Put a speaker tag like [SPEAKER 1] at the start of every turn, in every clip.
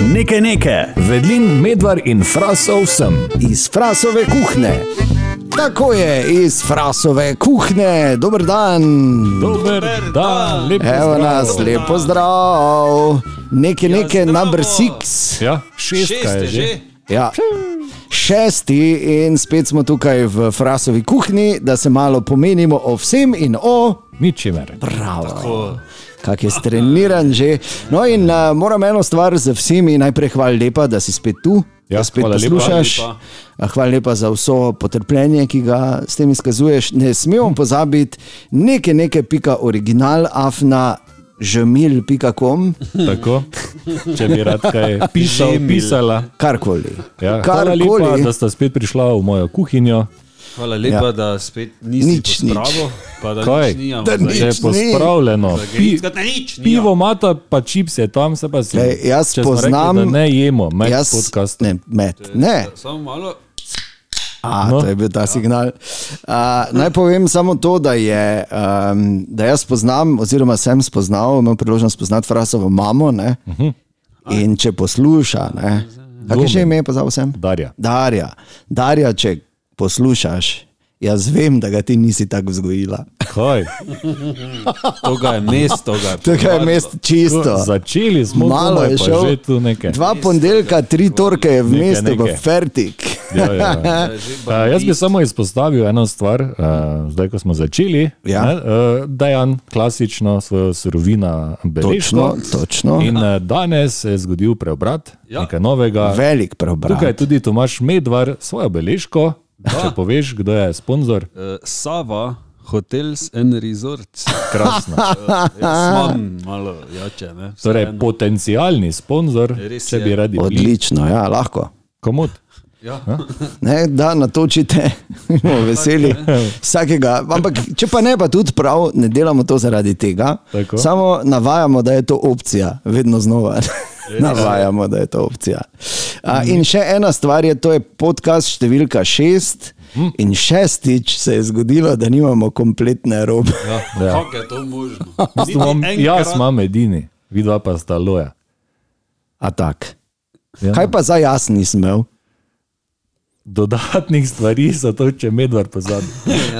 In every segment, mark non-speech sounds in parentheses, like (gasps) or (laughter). [SPEAKER 1] Nekaj nekaj.
[SPEAKER 2] Vedlin, medvar in frasov sem.
[SPEAKER 3] iz Frasove kuhne. Tako je iz Frasove kuhne, dober dan.
[SPEAKER 2] Dober dan, lep
[SPEAKER 3] Evo nas, lepo zdrav. Nekaj, nekaj, number six.
[SPEAKER 2] Ja, šestka
[SPEAKER 4] Šest
[SPEAKER 2] je
[SPEAKER 4] je
[SPEAKER 2] že.
[SPEAKER 4] že.
[SPEAKER 3] Ja. Šesti in spet smo tukaj v Frasovi kuhni, da se malo pomenimo o vsem in o
[SPEAKER 2] Ničemer.
[SPEAKER 3] Bravo. Kak je streniran že. No, in uh, moram eno stvar z vsemi, najprej hvala lepa, da si spet tu.
[SPEAKER 2] Ja,
[SPEAKER 3] da spet
[SPEAKER 2] hvala lepa.
[SPEAKER 3] poslušaš.
[SPEAKER 4] Hvala
[SPEAKER 3] Lepa. Hvala lepa za vso potrpljenje, ki ga s tem izkazuješ. Ne smemo pozabiti nekaj, nekaj, pika original, afna, žemil.com,
[SPEAKER 2] Tako, če bi rad
[SPEAKER 3] (laughs)
[SPEAKER 2] kaj pisal, pisala.
[SPEAKER 3] karkoli.
[SPEAKER 2] Ja, hvala lepa, da sta spet prišla v mojo kuhinjo.
[SPEAKER 4] Hvala lepa, ja. da spet nisi
[SPEAKER 3] Nič, nič.
[SPEAKER 4] pospravil, pa da
[SPEAKER 2] Kaj?
[SPEAKER 4] nič nijamo.
[SPEAKER 3] Da
[SPEAKER 4] zdaj.
[SPEAKER 2] Že
[SPEAKER 3] nič ni.
[SPEAKER 2] pospravljeno.
[SPEAKER 4] Da ga
[SPEAKER 2] Pi,
[SPEAKER 4] enkrat na nič nijamo.
[SPEAKER 2] pivo mata, pa čipse tam se pa si.
[SPEAKER 3] Glej, jaz
[SPEAKER 2] če smo rekli,
[SPEAKER 3] poznam-
[SPEAKER 2] da ne jemo, med
[SPEAKER 3] Jaz,
[SPEAKER 2] podcastom.
[SPEAKER 3] ne, med, ne.
[SPEAKER 4] Samo malo.
[SPEAKER 3] A, no. To je bil ta signal. Uh, naj povem samo to, da, je, um, da jaz poznam, oziroma sem spoznal, imel priložnost spoznati Frasovo mamo. Ne?
[SPEAKER 2] Mhm.
[SPEAKER 3] In če posluša, ne, kako je že ime, pozabil sem?
[SPEAKER 2] Darja.
[SPEAKER 3] Darja. Darja, če poslušaš, jaz vem, da ga ti nisi tako vzgojila. (laughs)
[SPEAKER 2] Kaj?
[SPEAKER 4] To ga je mesto, ga je.
[SPEAKER 3] Tako je mest čisto.
[SPEAKER 2] Začeli smo,
[SPEAKER 3] Malo
[SPEAKER 2] komaj,
[SPEAKER 3] je
[SPEAKER 2] pa
[SPEAKER 3] šel.
[SPEAKER 2] že tu nekaj.
[SPEAKER 3] Dva ponedeljka, tri torke je v
[SPEAKER 2] Nekaj,
[SPEAKER 3] mestu, v
[SPEAKER 2] nekaj.
[SPEAKER 3] Fertik.
[SPEAKER 2] Ja, ja, (laughs) ja. Uh, jaz bi samo izpostavil eno stvar, uh, zdaj ko smo začeli.
[SPEAKER 3] Ja.
[SPEAKER 2] Ne, uh, Dejan klasično svojo surovino beležko.
[SPEAKER 3] Točno, točno.
[SPEAKER 2] In uh, danes se je zgodil preobrat, ja.
[SPEAKER 4] Ja.
[SPEAKER 2] nekaj novega.
[SPEAKER 3] Velik preobrat.
[SPEAKER 2] Tukaj je tudi Tomaš Medvar svojo beležko. Če poveš, kdo je sponzor,
[SPEAKER 4] Uh, Sava, Hotels and Resorts.
[SPEAKER 2] (laughs) krasno.
[SPEAKER 4] Jaz imam malo jače, ne?
[SPEAKER 2] Torej,
[SPEAKER 4] Vseeno.
[SPEAKER 2] potencijalni sponzor,
[SPEAKER 4] Res
[SPEAKER 2] če
[SPEAKER 4] je.
[SPEAKER 2] bi radi bili.
[SPEAKER 3] Odlično, ja, lahko.
[SPEAKER 2] Komod?
[SPEAKER 4] Ja.
[SPEAKER 3] ne, da natočite, (laughs) bomo veseli vsakega. Ampak, če pa ne, pa tudi prav, ne delamo to zaradi tega.
[SPEAKER 2] Tako.
[SPEAKER 3] Samo navajamo, da je to opcija, vedno znova. (laughs) navajamo, da je to opcija. A, in še ena stvar je, to je podcast številka šest. In šestič se je zgodilo, da nimamo kompletne robe.
[SPEAKER 4] Ja.
[SPEAKER 2] Ja.
[SPEAKER 4] Kako je to možno? Niti
[SPEAKER 2] Imam, jaz
[SPEAKER 4] enkrat-
[SPEAKER 2] imam edini, vidva pa sta loja.
[SPEAKER 3] A tak.
[SPEAKER 2] Ja.
[SPEAKER 3] Kaj pa za jaz nisem imel?
[SPEAKER 2] Dodatnih stvari, zato če Medvar pozabi.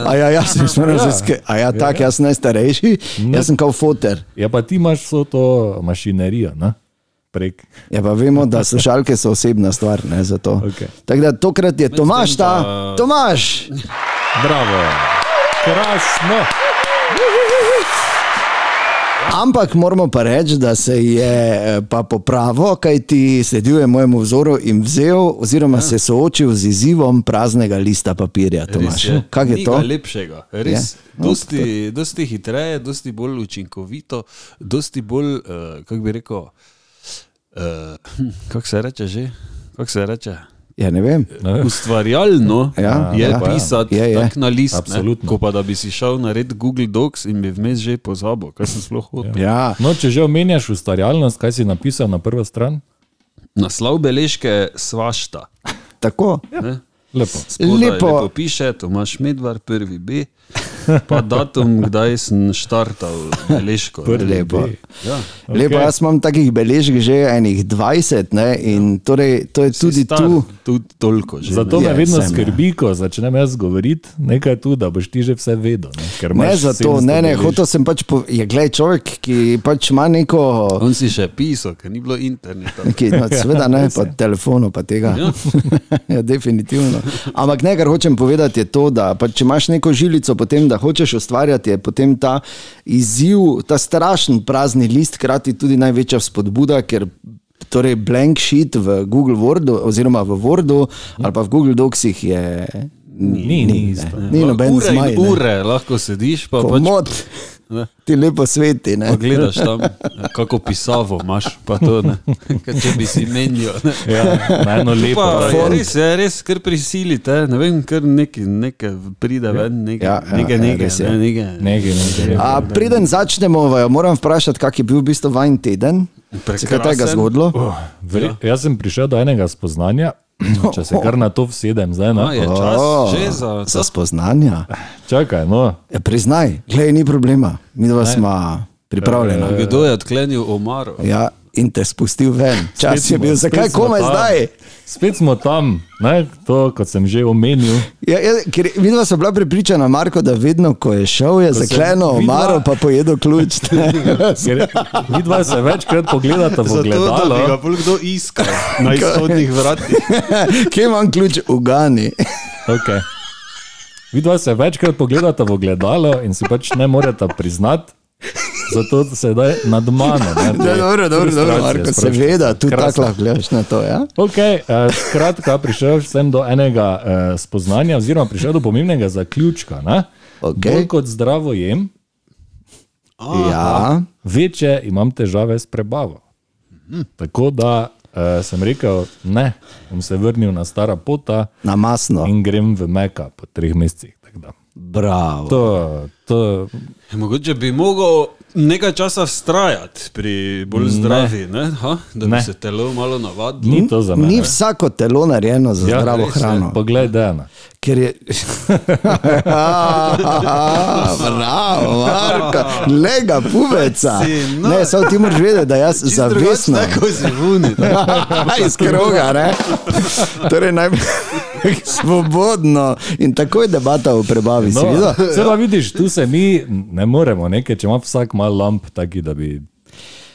[SPEAKER 3] A ja, jaz sem ja. raziskal. A ja, tak, jaz sem najstarejši, jaz sem kot foter.
[SPEAKER 2] Ja, pa ti imaš vso to mašinerijo, ne? prek.
[SPEAKER 3] Ja, pa vemo, da slušalke so osebna stvar. Ne,
[SPEAKER 2] Okej.
[SPEAKER 3] okay. Tako da tokrat je Tomaš ta, da... Tomaš,
[SPEAKER 2] Bravo, krasno.
[SPEAKER 3] ampak moramo pa reči, da se je eh, pa popravo, kaj ti sledil je mojemu vzoru in vzel, oziroma ja. se soočil z izzivom praznega lista papirja. Tomaš,
[SPEAKER 4] Res je.
[SPEAKER 3] kaj je
[SPEAKER 4] Ni
[SPEAKER 3] to?
[SPEAKER 4] ga Lepšega, res. No, dosti, dosti hitreje, dosti bolj učinkovito, dosti bolj, uh, kako bi rekel, uh, kako se reče že? Kako se reče?
[SPEAKER 3] Ja, ne vem.
[SPEAKER 4] Ustvarjalno
[SPEAKER 3] Ja,
[SPEAKER 4] ja, je
[SPEAKER 3] ja.
[SPEAKER 4] ja, pisati
[SPEAKER 3] Je,
[SPEAKER 4] je,
[SPEAKER 3] je.
[SPEAKER 4] je. tak na list,
[SPEAKER 2] Absolutno.
[SPEAKER 4] ne, ko pa da bi si šel narediti Google Docs in bi vmes že pozabil, kaj sem sploh hotel. Ja.
[SPEAKER 3] Ja,
[SPEAKER 2] No, če že omenjaš ustvarjalnost, kaj si napisal na prvo stran?
[SPEAKER 4] Naslov beležke svašta.
[SPEAKER 3] tako.
[SPEAKER 4] Ne?
[SPEAKER 2] Lepo.
[SPEAKER 4] Spodaj
[SPEAKER 3] Ja. Lepo.
[SPEAKER 4] lepo piše, Tomaš Medvar, prvi B, pa
[SPEAKER 3] (laughs)
[SPEAKER 4] datum, kdaj sem štartal, beležko. ne.
[SPEAKER 3] Lepo.
[SPEAKER 4] Ja.
[SPEAKER 3] Okay. Lepo, jaz imam takih beležk že enih 20, ne, in torej, to je
[SPEAKER 4] Si
[SPEAKER 3] tudi
[SPEAKER 4] star,
[SPEAKER 3] tu.
[SPEAKER 4] Tudi toliko že.
[SPEAKER 2] Zato
[SPEAKER 3] Je,
[SPEAKER 2] me vedno
[SPEAKER 3] sem, ja.
[SPEAKER 2] skrbi, ko začnem jaz govoriti nekaj tu, da boš ti že vse vedel. Ne, Ker
[SPEAKER 3] Ne,
[SPEAKER 2] imaš
[SPEAKER 3] zato
[SPEAKER 2] 700
[SPEAKER 3] ne, ne,
[SPEAKER 2] beležk.
[SPEAKER 3] hotel sem pač povedati, je gled človek, ki pač ima neko.
[SPEAKER 4] On si še pisal, ker ni bilo interneta.
[SPEAKER 3] Ki,
[SPEAKER 4] (laughs)
[SPEAKER 3] no, seveda ne, pa telefonu, pa tega. (laughs) ja, definitivno. Ampak ne, kar hočem povedati, je to, da pa, če imaš neko žilico, potem da hočeš ustvarjati, je potem ta izziv, ta strašen prazni list, hkrati tudi največja spodbuda, ker. Torej, blank sheet v Google Wordu, oziroma v Wordu ali pa v Google Docsih je.
[SPEAKER 2] Ni, ni isto.
[SPEAKER 3] Ni noben
[SPEAKER 4] ure, in
[SPEAKER 3] zmaj. ne.
[SPEAKER 4] ure lahko sediš, pa pač
[SPEAKER 3] Komod, ti lepo sveti. Ne?
[SPEAKER 4] pa gledaš tam, kako pisavo imaš. pa To, ne. Ker če bi si menil. ne.
[SPEAKER 2] Ja, na
[SPEAKER 4] (laughs)
[SPEAKER 2] eno lepo.
[SPEAKER 4] E, Pa,
[SPEAKER 2] ja.
[SPEAKER 4] je res je, res kar prisilite, ne vem, kar nekaj, nekaj pride ven, nekaj,
[SPEAKER 3] Ja,
[SPEAKER 4] ja,
[SPEAKER 3] ja,
[SPEAKER 4] ja, nekaj,
[SPEAKER 3] ja,
[SPEAKER 4] nekaj,
[SPEAKER 3] res je.
[SPEAKER 4] ne, nekaj.
[SPEAKER 2] Nekaj, nekaj.
[SPEAKER 4] Ja,
[SPEAKER 3] A, preden začnemo, vaju, moram vprašati, kak je bil v bistvu vajen teden. Se kaj tega
[SPEAKER 4] Prekrasen.
[SPEAKER 3] zgodilo?
[SPEAKER 2] Oh, Vre,
[SPEAKER 4] Ja.
[SPEAKER 2] jaz sem prišel do enega spoznanja, (clears throat) če se kar na to vsedem, zdaj
[SPEAKER 4] No, je
[SPEAKER 2] ne.
[SPEAKER 4] čas
[SPEAKER 3] O,
[SPEAKER 4] že za
[SPEAKER 3] za spoznanja.
[SPEAKER 2] Čakaj, no.
[SPEAKER 3] Ja,
[SPEAKER 4] Eh.
[SPEAKER 3] priznaj, glej, ni problema, mi dva smo pripravljena.
[SPEAKER 4] ja. Kdo je odklenil omaro?
[SPEAKER 3] Ja, in te spustil ven. Čas je bil, zakaj komaj zdaj?
[SPEAKER 2] Spet smo tam, ne? to, kot sem že
[SPEAKER 3] (laughs)
[SPEAKER 2] omenil.
[SPEAKER 3] Ja, ja, ker vidno sem bila pripričana, Marko, da vedno, ko je šel, je
[SPEAKER 2] sem
[SPEAKER 3] zaklenil
[SPEAKER 2] vidva-
[SPEAKER 3] omaro, pa pojedel
[SPEAKER 4] (laughs)
[SPEAKER 3] ključ. ne.
[SPEAKER 2] Ker vidva se večkrat pogledata v
[SPEAKER 4] Zato, da bi ga
[SPEAKER 2] ogledalo.
[SPEAKER 4] bolj kdo (laughs) iskal na izhodnih vratih.
[SPEAKER 3] Kje imam ključ? Ugani.
[SPEAKER 2] Okay. Vidva se večkrat pogledata v ogledalo in si pač ne moreta priznati. Zato se zdaj nad mano.
[SPEAKER 3] (laughs)
[SPEAKER 2] Ne,
[SPEAKER 3] Da,
[SPEAKER 2] te
[SPEAKER 3] Ja, dobro, dobro, dobro,
[SPEAKER 2] frustracije
[SPEAKER 3] Marko,
[SPEAKER 2] sprošča.
[SPEAKER 3] seveda, tudi
[SPEAKER 2] Krasno.
[SPEAKER 3] tako lahko gledaš na to. Ja?
[SPEAKER 2] Okay, eh, skratka, prišel sem do enega eh, spoznanja, oziroma prišel do pomembnega zaključka. ne.
[SPEAKER 3] Okej.
[SPEAKER 2] Bolj kot zdravo jem,
[SPEAKER 3] Ja.
[SPEAKER 2] večje imam težave s prebavo.
[SPEAKER 3] Mhm.
[SPEAKER 2] Tako da eh, sem rekel, ne, bom se vrnil na stara pota
[SPEAKER 3] Na masno.
[SPEAKER 2] in grem v Meka po treh mesecih. tako da.
[SPEAKER 3] Bravo.
[SPEAKER 2] To, to,
[SPEAKER 4] Ja, Mogoče bi mogel nekaj časa vztrajati pri bolj zdravi, ne? Ha? da bi
[SPEAKER 2] Ne.
[SPEAKER 4] ne. se telo malo navadilo.
[SPEAKER 2] ni to za me.
[SPEAKER 3] Ni vsako telo narejeno za
[SPEAKER 2] Ja,
[SPEAKER 3] ja, zdravo
[SPEAKER 2] res je.
[SPEAKER 3] hrano.
[SPEAKER 2] Poglej, Dana.
[SPEAKER 3] Ker je. (laughs) Bravo, Marko, le ga pubeca.
[SPEAKER 4] Si, no.
[SPEAKER 3] Ne, samo ti moraš vedeti, da jaz zavestno.
[SPEAKER 4] Tako zvuni. ne.
[SPEAKER 3] (laughs) Iz kroga, ne? Torej, naj (laughs) svobodno in tako je debata o prebavi. No.
[SPEAKER 2] Zdaj pa vidiš, tu se mi ne moremo, nekaj, če ima vsak mal lamp, taki da bi.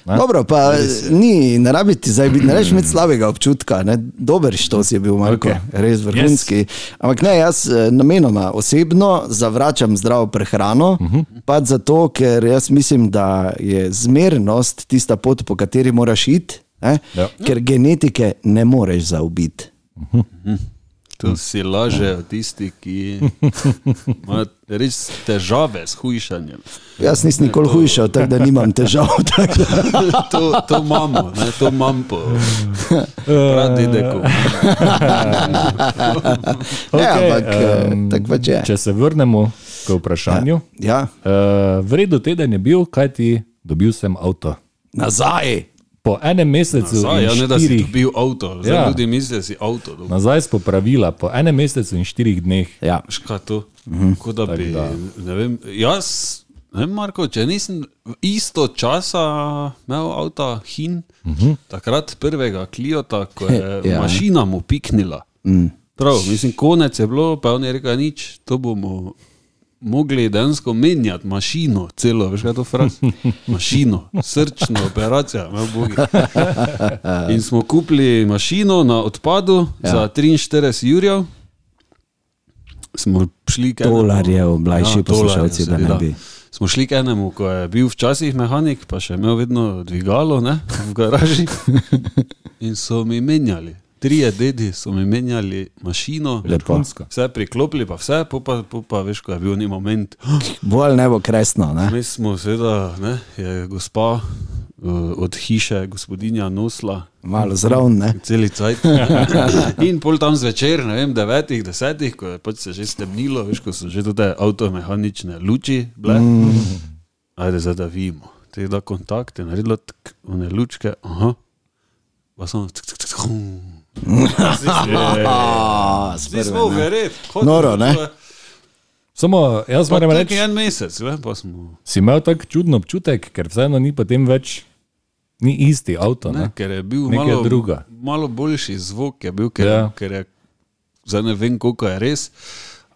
[SPEAKER 3] Dobro, pa ni, ne rabi ti zdaj biti, ne rečeš imeti slabega občutka, ne? dober štos je bil, Marko,
[SPEAKER 2] Ok.
[SPEAKER 3] okay. res vrhunski. Yes. Ampak ne, jaz eh, namenoma osebno zavračam zdravo prehrano, uh -huh.
[SPEAKER 2] Mhm.
[SPEAKER 3] pa zato, ker jaz mislim, da je zmernost tista pot, po kateri moraš iti, eh?
[SPEAKER 2] Ja.
[SPEAKER 3] ker genetike ne moreš zaubiti.
[SPEAKER 4] Tu si lažejo tisti, ki imajo res težave s hujšanjem. (laughs)
[SPEAKER 3] Jaz nisem nikoli hujšal, tako da nimam težav. (laughs) tako da-
[SPEAKER 4] To, to imamo, ne? to imam po pradedeku.
[SPEAKER 3] Ne,
[SPEAKER 2] Okej,
[SPEAKER 3] ampak
[SPEAKER 2] em,
[SPEAKER 3] um, tako pač je.
[SPEAKER 2] Če se vrnemo k vprašanju.
[SPEAKER 3] Ja,
[SPEAKER 2] Uh, Vredno teden je bil, kaj ti dobil sem avto.
[SPEAKER 3] nazaj.
[SPEAKER 2] Po enem mesecu,
[SPEAKER 4] Zdaj,
[SPEAKER 2] in
[SPEAKER 4] ja, ne da si
[SPEAKER 2] štirih,
[SPEAKER 4] dobil avto, zdaj
[SPEAKER 2] Ja.
[SPEAKER 4] ja. ljudi mislijo, da si avto. dobil.
[SPEAKER 2] nazaj spopravila, po enem mesecu in štirih dneh.
[SPEAKER 3] Ja.
[SPEAKER 4] Veš kaj to? Mhm. Kot da bi, ne vem, jaz, ne vem, Marko, če nisem isto časa imel avto Hin, mhm. takrat prvega Kliota, ko je
[SPEAKER 3] Ja.
[SPEAKER 4] (laughs) ja. mašina mu piknila. Mhm. Prav, mislim, konec je bilo, pa on je rekel, "Ja, nič, to bomo mogli dejansko menjati mašino, celo, veš kaj je to fraz? Mašino, srčno operacijo, me bogi.
[SPEAKER 3] Eh.
[SPEAKER 4] In smo kupili mašino na odpadu ja. za 43 jurjev. Smo šli k enemu- Ja,
[SPEAKER 3] Dolarjev, mlajši poslušalci, da ne
[SPEAKER 4] seveda.
[SPEAKER 3] bi.
[SPEAKER 4] Smo šli k enemu, ko je bil včasih mehanik, pa še imel vedno dvigalo ne, v
[SPEAKER 3] (laughs)
[SPEAKER 4] garaži. In so mi menjali, trije dedi so mi menjali mašino.
[SPEAKER 3] Lepo.
[SPEAKER 4] Vse priklopili, pa vse, pol pa, pol pa veš, ko je bil ni moment. (gasps)
[SPEAKER 3] Bolj ne bo kresno. Ne?
[SPEAKER 4] Mi smo, seveda, ne, je gospa uh, od hiše, gospodinja nosla,
[SPEAKER 3] Malo zraven, ne?
[SPEAKER 4] celi cajt. (laughs) In pol tam zvečer, ne vem, devetih, desetih, ko je pač se že stemnilo, veš, ko so že te avtomehanične luči bile.
[SPEAKER 3] Mm.
[SPEAKER 4] Ajde, zdaj da vidimo. Te da kontakte, naredilo tk, one lučke, aha, pa samo tk, tk, tk, tk, hum.
[SPEAKER 3] A,
[SPEAKER 4] Zdaj smo
[SPEAKER 3] sprve, ne.
[SPEAKER 4] verjeti, kot
[SPEAKER 3] Noro, ne?
[SPEAKER 2] Samo jaz moram reči,
[SPEAKER 4] Reči en mesec, ne, pa smo.
[SPEAKER 2] si imel tak čuden občutek, ker vseeno ni potem več, ni isti avto. Ne?
[SPEAKER 4] Ne, ker je bil
[SPEAKER 2] Ja. Nekaj
[SPEAKER 4] malo,
[SPEAKER 2] druga.
[SPEAKER 4] malo boljši zvok, je bil, ker,
[SPEAKER 2] Ja.
[SPEAKER 4] ja. ker je, zdaj ne vem, koliko je res.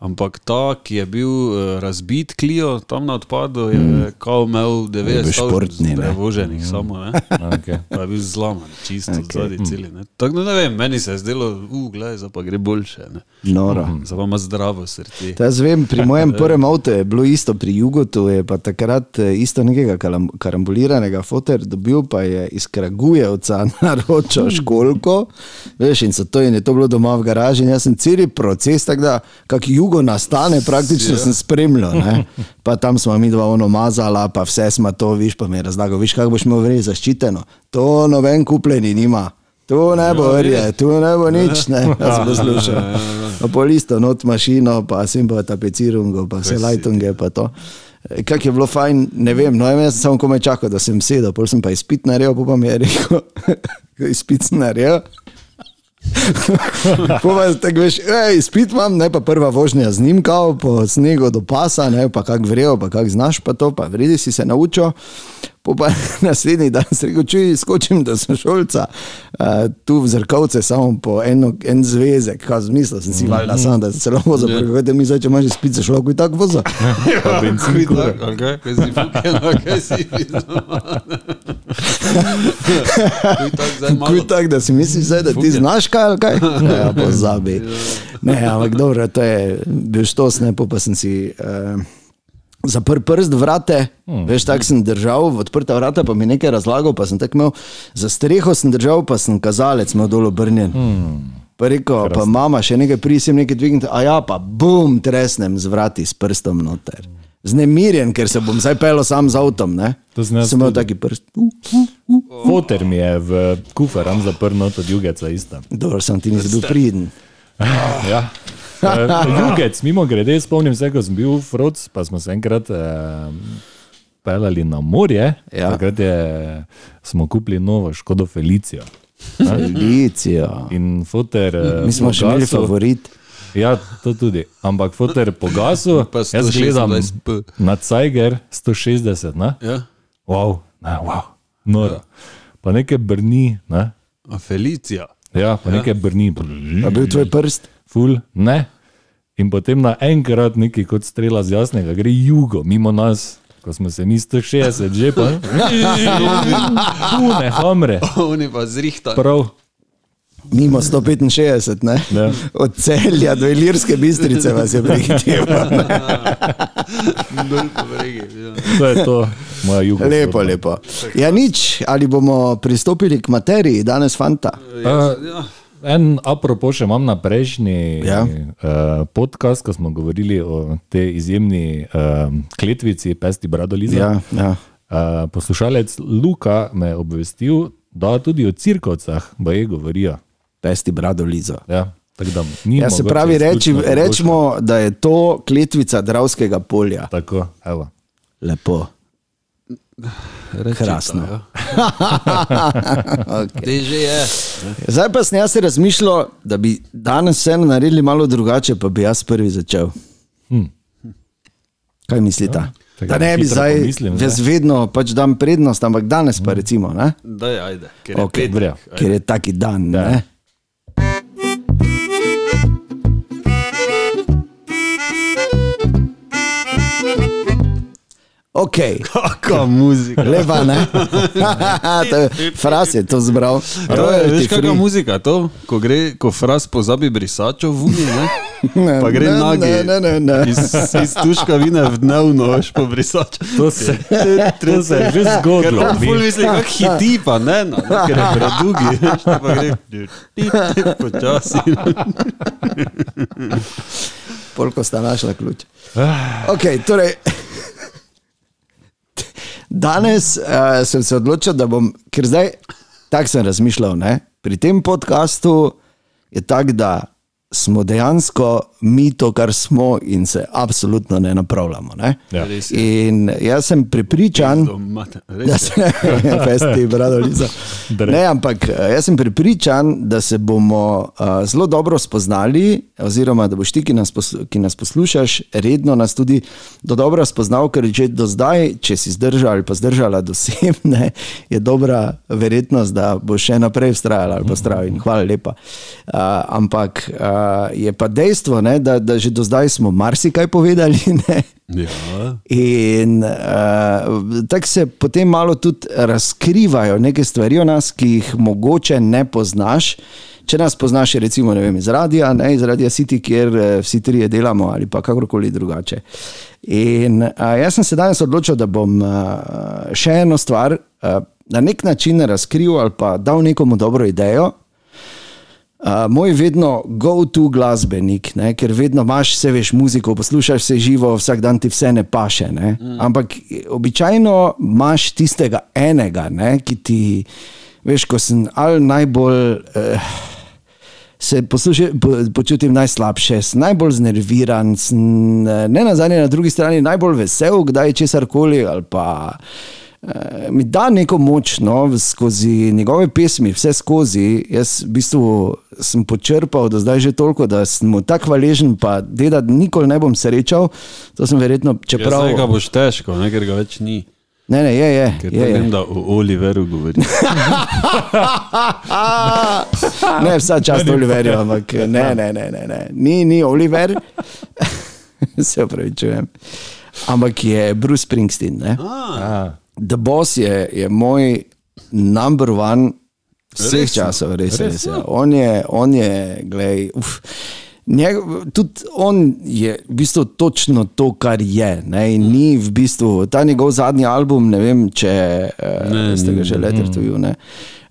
[SPEAKER 4] Ampak ta, ki je bil eh, razbit, klijo tam na odpadu, je mm. kao imel 90
[SPEAKER 3] športni, ne.
[SPEAKER 4] ur prevoženih, mm. samo ne.
[SPEAKER 2] Okay.
[SPEAKER 4] Pa je bil zlaman, čisto okay. zadnji mm. celi. Ne. Tako da ne vem, meni se je zdelo, uglej, zdaj pa gre boljše. Ne.
[SPEAKER 3] Noro.
[SPEAKER 4] Zdaj pa ima zdravo srce.
[SPEAKER 3] To Jaz vem, pri mojem prvem avtu je bilo isto, pri Jugotu je pa takrat eh, isto nekega kalam- karambuliranega foter, dobil pa je iz Kragujevca (laughs) naročil školko, veš, in so to in je to bilo doma v garaži in jaz sem celi proces, tako da kak Jugo nastane, praktično sem spremljal, ne. pa tam smo mi dva ono mazala, pa vse smo to, viš, pa mi je razlagal, viš, kako boš imel vrej zaščiteno, to noben kupljeni nima. Tu ne bo verje, tu ne bo nič, ne, jaz sem poslušal. Pa pol isto, not mašino, pa sem pa tapecirungo, pa vse lajtunge, pa to. E, Kako je bilo fajn, ne vem, no jaz sem samo komaj čakal, da sem sedel, pol sem pa izpit naredil, pol pa mi je rekel, (laughs) izpit sem naredil. (laughs) Povej, tako veš, ej, spit imam, ne pa prva vožnja z njim, kao po snegu do pasa, ne pa kak vrejo, pa kak znaš, pa to, pa vredi si se naučil. Po pa (laughs) naslednji dan si rekel, čuj, skočim do sošolca, uh, tu v zrkovce samo po eno, en zvezek, kaj zmislil sem si, valjda sam, da se celo vozo,
[SPEAKER 4] Ja.
[SPEAKER 3] yeah. kaj mi zdaj, če imaš iz pice šlo, kuj tako vozo.
[SPEAKER 4] (laughs) Ja,
[SPEAKER 2] bencin
[SPEAKER 4] kuj
[SPEAKER 2] kura.
[SPEAKER 4] tako, ali kaj, kaj si fuken, ali kaj si (laughs) videl. Kuj tako zdaj malo.
[SPEAKER 3] Kuj tako, da si misliš zdaj, da ti
[SPEAKER 4] Fuknje.
[SPEAKER 3] znaš kaj ali
[SPEAKER 4] (laughs)
[SPEAKER 3] kaj? Ja, pozabi. Ne, ampak dobro, to je bil štos, ne, pol pa sem si... Uh, Zapr prst, vrate, hmm. veš, tako sem držal, v odprta vrata, pa mi nekaj razlagal, pa sem tako imel, za streho sem držal, pa sem kazalec imel dol obrnjen. Hmm. Pa rekel, pa mama še nekaj prisim, nekaj dvignite, a ja, pa bum, tresnem z vrati s prstom noter. Znemirjen, ker se bom zdaj pel sam z avtom, ne?
[SPEAKER 2] To sem jaz
[SPEAKER 3] Sem imel taki prst. Uh, uh, uh.
[SPEAKER 2] Foter mi je v kufer, tam zaprl od jugeca ista.
[SPEAKER 3] Dobro, sem ti nisi bil pridn.
[SPEAKER 2] Ja. Uh, jugec, mimo grede, spomnim se, ko sem bil v Froc, pa smo se enkrat uh, pelali na morje.
[SPEAKER 3] Ja.
[SPEAKER 2] Takrat je, smo kupili novo Škodo Felicijo.
[SPEAKER 3] (laughs)
[SPEAKER 2] Ne?
[SPEAKER 3] Felicijo.
[SPEAKER 2] In foter. eh,
[SPEAKER 3] Mi smo še imeli
[SPEAKER 2] pogasil-
[SPEAKER 3] favorit.
[SPEAKER 2] Ja, to tudi. Ampak foter pogasil,
[SPEAKER 4] Pa
[SPEAKER 2] jaz gledam
[SPEAKER 4] 126p.
[SPEAKER 2] na Cajger 160, ne?
[SPEAKER 4] Ja,
[SPEAKER 2] Wow, ne, wow, noro. Pa nekaj brni, ne?
[SPEAKER 4] a Felicija.
[SPEAKER 2] Ja, pa ja. nekaj brni.
[SPEAKER 3] Je bil tvoj prst?
[SPEAKER 2] ful, ne. In potem naenkrat neki kot strela z jasnega, gre jugo, mimo nas, ko smo se mi 160 že pa. Pune, homre,
[SPEAKER 4] Oni (laughs) pa zrihta.
[SPEAKER 2] prav.
[SPEAKER 3] Mimo 165, ne?
[SPEAKER 2] Ja.
[SPEAKER 3] Od celja do Ilirske bistrice vas je
[SPEAKER 2] (laughs)
[SPEAKER 3] prihitil.
[SPEAKER 4] (laughs) Dol po bregi. Ja.
[SPEAKER 2] To je to, moja jugo.
[SPEAKER 3] Lepo, lepo. Ja, nič, ali bomo pristopili k materiji danes, fanta? (laughs)
[SPEAKER 4] Ja.
[SPEAKER 2] En apropo še imam na prejšnji ja.
[SPEAKER 3] Ja.
[SPEAKER 2] uh, podcast, ko smo govorili o tej izjemni uh, kletvici, pesti bradoliza.
[SPEAKER 3] Ja, ja.
[SPEAKER 2] Uh, poslušalec Luka me je obvestil, da tudi o cirkovcah boje govorijo.
[SPEAKER 3] Pesti brado lizo.
[SPEAKER 2] Ja, tako da ni
[SPEAKER 3] Ja, se
[SPEAKER 2] mogoče
[SPEAKER 3] pravi, reči,
[SPEAKER 2] izključno
[SPEAKER 3] rečemo, da je to kletvica Dravskega polja.
[SPEAKER 2] Tako, evo.
[SPEAKER 3] Lepo.
[SPEAKER 4] Rečeta,
[SPEAKER 3] Krasno. (laughs)
[SPEAKER 4] ja.
[SPEAKER 3] Okay.
[SPEAKER 4] Te že je.
[SPEAKER 3] Zdaj pa sem jaz razmišljal, da bi danes vseeno naredili malo drugače, pa bi jaz prvi začel.
[SPEAKER 2] Hm.
[SPEAKER 3] Kaj mislite? Ja,
[SPEAKER 2] čakaj,
[SPEAKER 3] da ne bi
[SPEAKER 2] hitro
[SPEAKER 3] zdaj,
[SPEAKER 2] pomislim,
[SPEAKER 3] jaz vedno pač dam prednost, ampak danes pa recimo, ne?
[SPEAKER 4] Daj, ajde. Ker je
[SPEAKER 3] Ok,
[SPEAKER 4] okay,
[SPEAKER 2] Vrja.
[SPEAKER 3] ker je taki dan. Ne? Ok,
[SPEAKER 4] Kaka muzika.
[SPEAKER 3] lepa ne. (laughs) To je- Fras je to zbral. To
[SPEAKER 4] To je,
[SPEAKER 3] je
[SPEAKER 4] veš,
[SPEAKER 3] ti
[SPEAKER 4] kakšna
[SPEAKER 3] free.
[SPEAKER 4] muzika to, ko gre, ko fras pozabi brisačo v uni, ne?
[SPEAKER 3] Ne,
[SPEAKER 4] Pa gre
[SPEAKER 3] (laughs) ne,
[SPEAKER 4] nagi.
[SPEAKER 3] ne, ne, ne, ne.
[SPEAKER 4] Iz, iz tuška vina v dnevno, veš, po brisačo.
[SPEAKER 2] To se, to se je že
[SPEAKER 4] Ker
[SPEAKER 2] zgodilo.
[SPEAKER 4] on ful misli, kak hiti, pa ne, no, ne, ker je predugi, veš, to
[SPEAKER 3] (laughs)
[SPEAKER 4] pa gre ti, ti, ti, počasi.
[SPEAKER 3] Polko sta našla ključ. Okay, torej, danes uh, sem se odločil, da bom, ker zdaj tako sem razmišljal. Ne? Pri tem podkastu je tako, da smo dejansko mi to, kar smo, in se absolutno ne napravljamo. Ne?
[SPEAKER 2] Ja.
[SPEAKER 4] Res je.
[SPEAKER 3] In jaz sem prepričan,
[SPEAKER 4] Domate,
[SPEAKER 3] da
[SPEAKER 4] res je.
[SPEAKER 3] Hm. Ja, se festi, brado, liza. Ne, ampak eh, jaz sem pripričan, da se bomo eh, zelo dobro spoznali, oziroma da boš ti, ki nas, poslu, ki nas poslušaš, redno nas tudi do dobro spoznal, ker že do zdaj, če si zdržal ali pa zdržala do sem, ne, je dobra verjetnost, da boš še naprej vztrajala ali pa vztrajal in hvala lepa. Eh, Ampak eh, je pa dejstvo, ne, da, da že do zdaj smo marsikaj povedali. (laughs) Ne.
[SPEAKER 4] Ja.
[SPEAKER 3] In uh, tako se potem malo tudi razkrivajo neke stvari o nas, ki jih mogoče ne poznaš. Če nas poznaš, je recimo ne vem, iz radia, ne, iz radia City, kjer eh, vsi trije delamo ali pa kakorkoli drugače. In uh, jaz sem se danes odločil, da bom uh, še eno stvar uh, na nek način razkril ali pa dal nekomu dobro idejo, Uh, moj vedno go-to glasbenik, ne? ker vedno imaš, vse veš, muziko, poslušaš vse živo, vsak dan ti vse ne paše. Ne? Mm. Ampak običajno imaš tistega enega, ne? ki ti, veš, ko sem ali najbolj. Eh, Se poslušaj, po, počutim najslabše, sem najbolj znerviran, sem, eh, ne na zadnji, na drugi strani najbolj vesel, kdaj česar koli. ali Pa, eh, mi da neko moč no, skozi njegove pesmi, vse skozi. Jaz v bistvu sem počrpal do zdaj že toliko, da sem mu tako hvaležen, pa deda nikoli ne bom srečal. To sem verjetno,
[SPEAKER 4] Čeprav
[SPEAKER 3] čeprav.
[SPEAKER 4] ga boš težko, ne, ker ga več ni.
[SPEAKER 3] Ne, ne, je, je.
[SPEAKER 4] Ker
[SPEAKER 3] je,
[SPEAKER 4] ne vem,
[SPEAKER 3] je.
[SPEAKER 4] da o Oliveru
[SPEAKER 3] (laughs)
[SPEAKER 4] govori.
[SPEAKER 3] A, ne, vsa čast Oliverju, ampak ne, ne, ne, ne, ne. Ni, ni Oliver, (laughs) se upravičujem. Ampak je Bruce Springsteen. Ne?
[SPEAKER 2] A,
[SPEAKER 3] The Boss je, je moj number one vseh
[SPEAKER 4] Res?
[SPEAKER 3] časov, res, res. res on je, on je, glej. Uf. Njeg, tudi on je v bistvu točno to, kar je. Ne? in Ni v bistvu ta njegov zadnji album, ne vem, če eh,
[SPEAKER 4] Ne, Mm.
[SPEAKER 3] ste ga že leta tujili.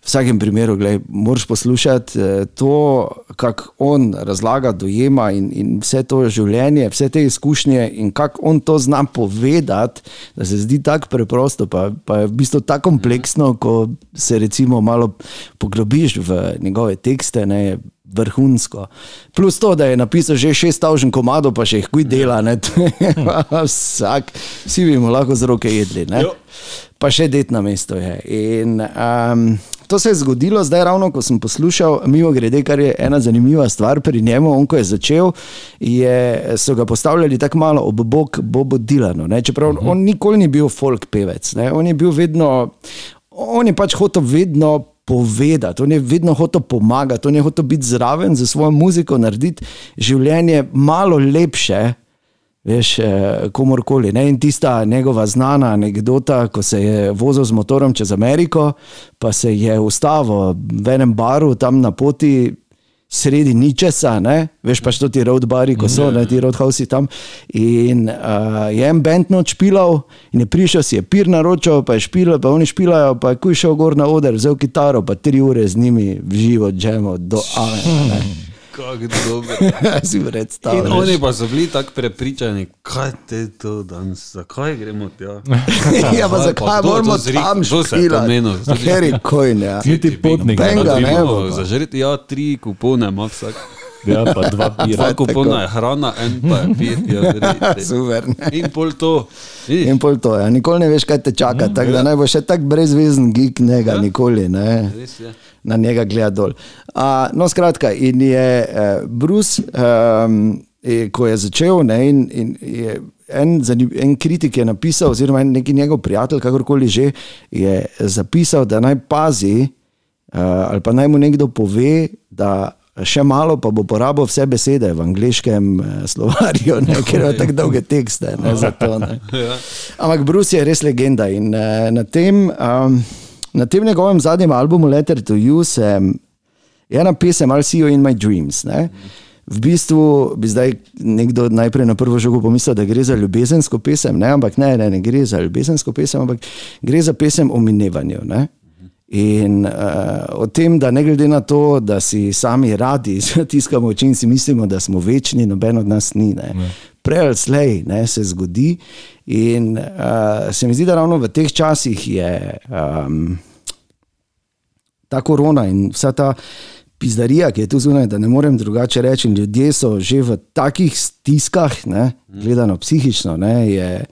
[SPEAKER 3] V vsakem primeru, glej, moraš poslušati eh, to, kako on razlaga, dojema in, in vse to življenje, vse te izkušnje in kako on to zna povedati, da se zdi tako preprosto, pa, pa je v bistvu tako kompleksno, ko se recimo malo poglobiš v njegove tekste. Ne, je Vrhunsko. Plus to, da je napisal že 6000 komadov, pa še jih kuj dela, ne, to je pa (laughs) vsak, vsi bi mu lahko z roke jedli. ne
[SPEAKER 4] Jo.
[SPEAKER 3] pa še det na mesto je. In, um, to se je zgodilo zdaj, ravno ko sem poslušal, mimo grede, kar je ena zanimiva stvar pri njemu. On, ko je začel, je, so ga postavljali tako malo ob bok Bobu Dilanu. ne. Čeprav uh -huh. on nikoli ni bil folk pevec, ne. on je bil vedno, on je pač hotel vedno. Povedati, on je vedno hotel pomagati, on je hotel biti zraven za svojo muziko, narediti življenje malo lepše, Veš, eh, komorkoli. Ne? In tista njegova znana anekdota, ko se je vozil z motorom čez Ameriko, pa se je ustavil v enem baru tam na poti. Sredi ničesa, ne? veš pač to ti roadbari, ko so,
[SPEAKER 4] Ja.
[SPEAKER 3] ne ti roadhousi tam. In uh, je en bend noč špilal, in je prišel, si je pir naročil, pa je špilal, pa oni špilajo, pa je kuj šel gor na oder, vzel kitaro, pa tri ure z njimi v živo, džemo, do amen.
[SPEAKER 4] (laughs) Kako dobro.
[SPEAKER 3] (laughs) si
[SPEAKER 4] In
[SPEAKER 3] predstavljaš.
[SPEAKER 4] oni pa so bili tako prepričani, kaj te to danes, zakaj gremo tja. (laughs)
[SPEAKER 3] Ja, pa
[SPEAKER 4] Aha,
[SPEAKER 3] zakaj
[SPEAKER 4] kdo je to
[SPEAKER 3] moramo
[SPEAKER 4] zrihtal?
[SPEAKER 3] tam
[SPEAKER 4] Kdo se je
[SPEAKER 3] špilati?
[SPEAKER 4] pomenil? Zdaj že-
[SPEAKER 3] Kateri kojn, ja.
[SPEAKER 2] niti potnik. ne.
[SPEAKER 3] Benga.
[SPEAKER 4] Da bi
[SPEAKER 3] ne
[SPEAKER 4] bilo
[SPEAKER 3] bo pa.
[SPEAKER 4] Zažreti, ja, tri kupone ima
[SPEAKER 3] (laughs)
[SPEAKER 4] vsak.
[SPEAKER 2] Ja, pa dva pira.
[SPEAKER 4] Dva kupona je hrana, en pa je pit.
[SPEAKER 3] (laughs)
[SPEAKER 4] Ja, verjeti.
[SPEAKER 3] Super. ne.
[SPEAKER 4] In pol to.
[SPEAKER 3] In pol to, ja. nikoli ne veš, kaj te čaka.
[SPEAKER 4] Ja,
[SPEAKER 3] Tako da naj bo še tako brezvezen gig, njega nikoli. Ne.
[SPEAKER 4] Res je.
[SPEAKER 3] na njega gleda dol. A, no, skratka, in je uh, Bruce, um, je, ko je začel, ne, in, in je en, zanimiv, en kritik je napisal, oziroma en neki njegov prijatelj, kakorkoli že, je zapisal, da naj pazi, uh, ali pa naj mu nekdo pove, da. Še malo pa bo porabil vse besede v angliškem eh, slovarju, ne, ker ima tako dolge tekste. Ne, zato, ne.
[SPEAKER 4] Ja.
[SPEAKER 3] Ampak Bruce je res legenda in uh, na, tem, um, na tem njegovem zadnjem albumu Letter to You sem, je ena pesem I'll see you in my dreams. Ne? V bistvu bi zdaj nekdo najprej na prvo žogo pomislil, da gre za ljubezensko pesem, ne? ampak ne, ne, ne gre za ljubezensko pesem, ampak gre za pesem o minevanju. Ne? In uh, o tem, da ne glede na to, da si sami radi (laughs) zatiskamo oči in si mislimo, da smo večni, noben od nas ni. Ne? Prej ali slej ne, se zgodi. In uh, se mi zdi, da ravno v teh časih je. Um, ta korona in vsa ta pizdarija, ki je tu zunaj, da ne morem drugače reči. In ljudje so že v takih stiskah, ne, gledano psihično, ne, je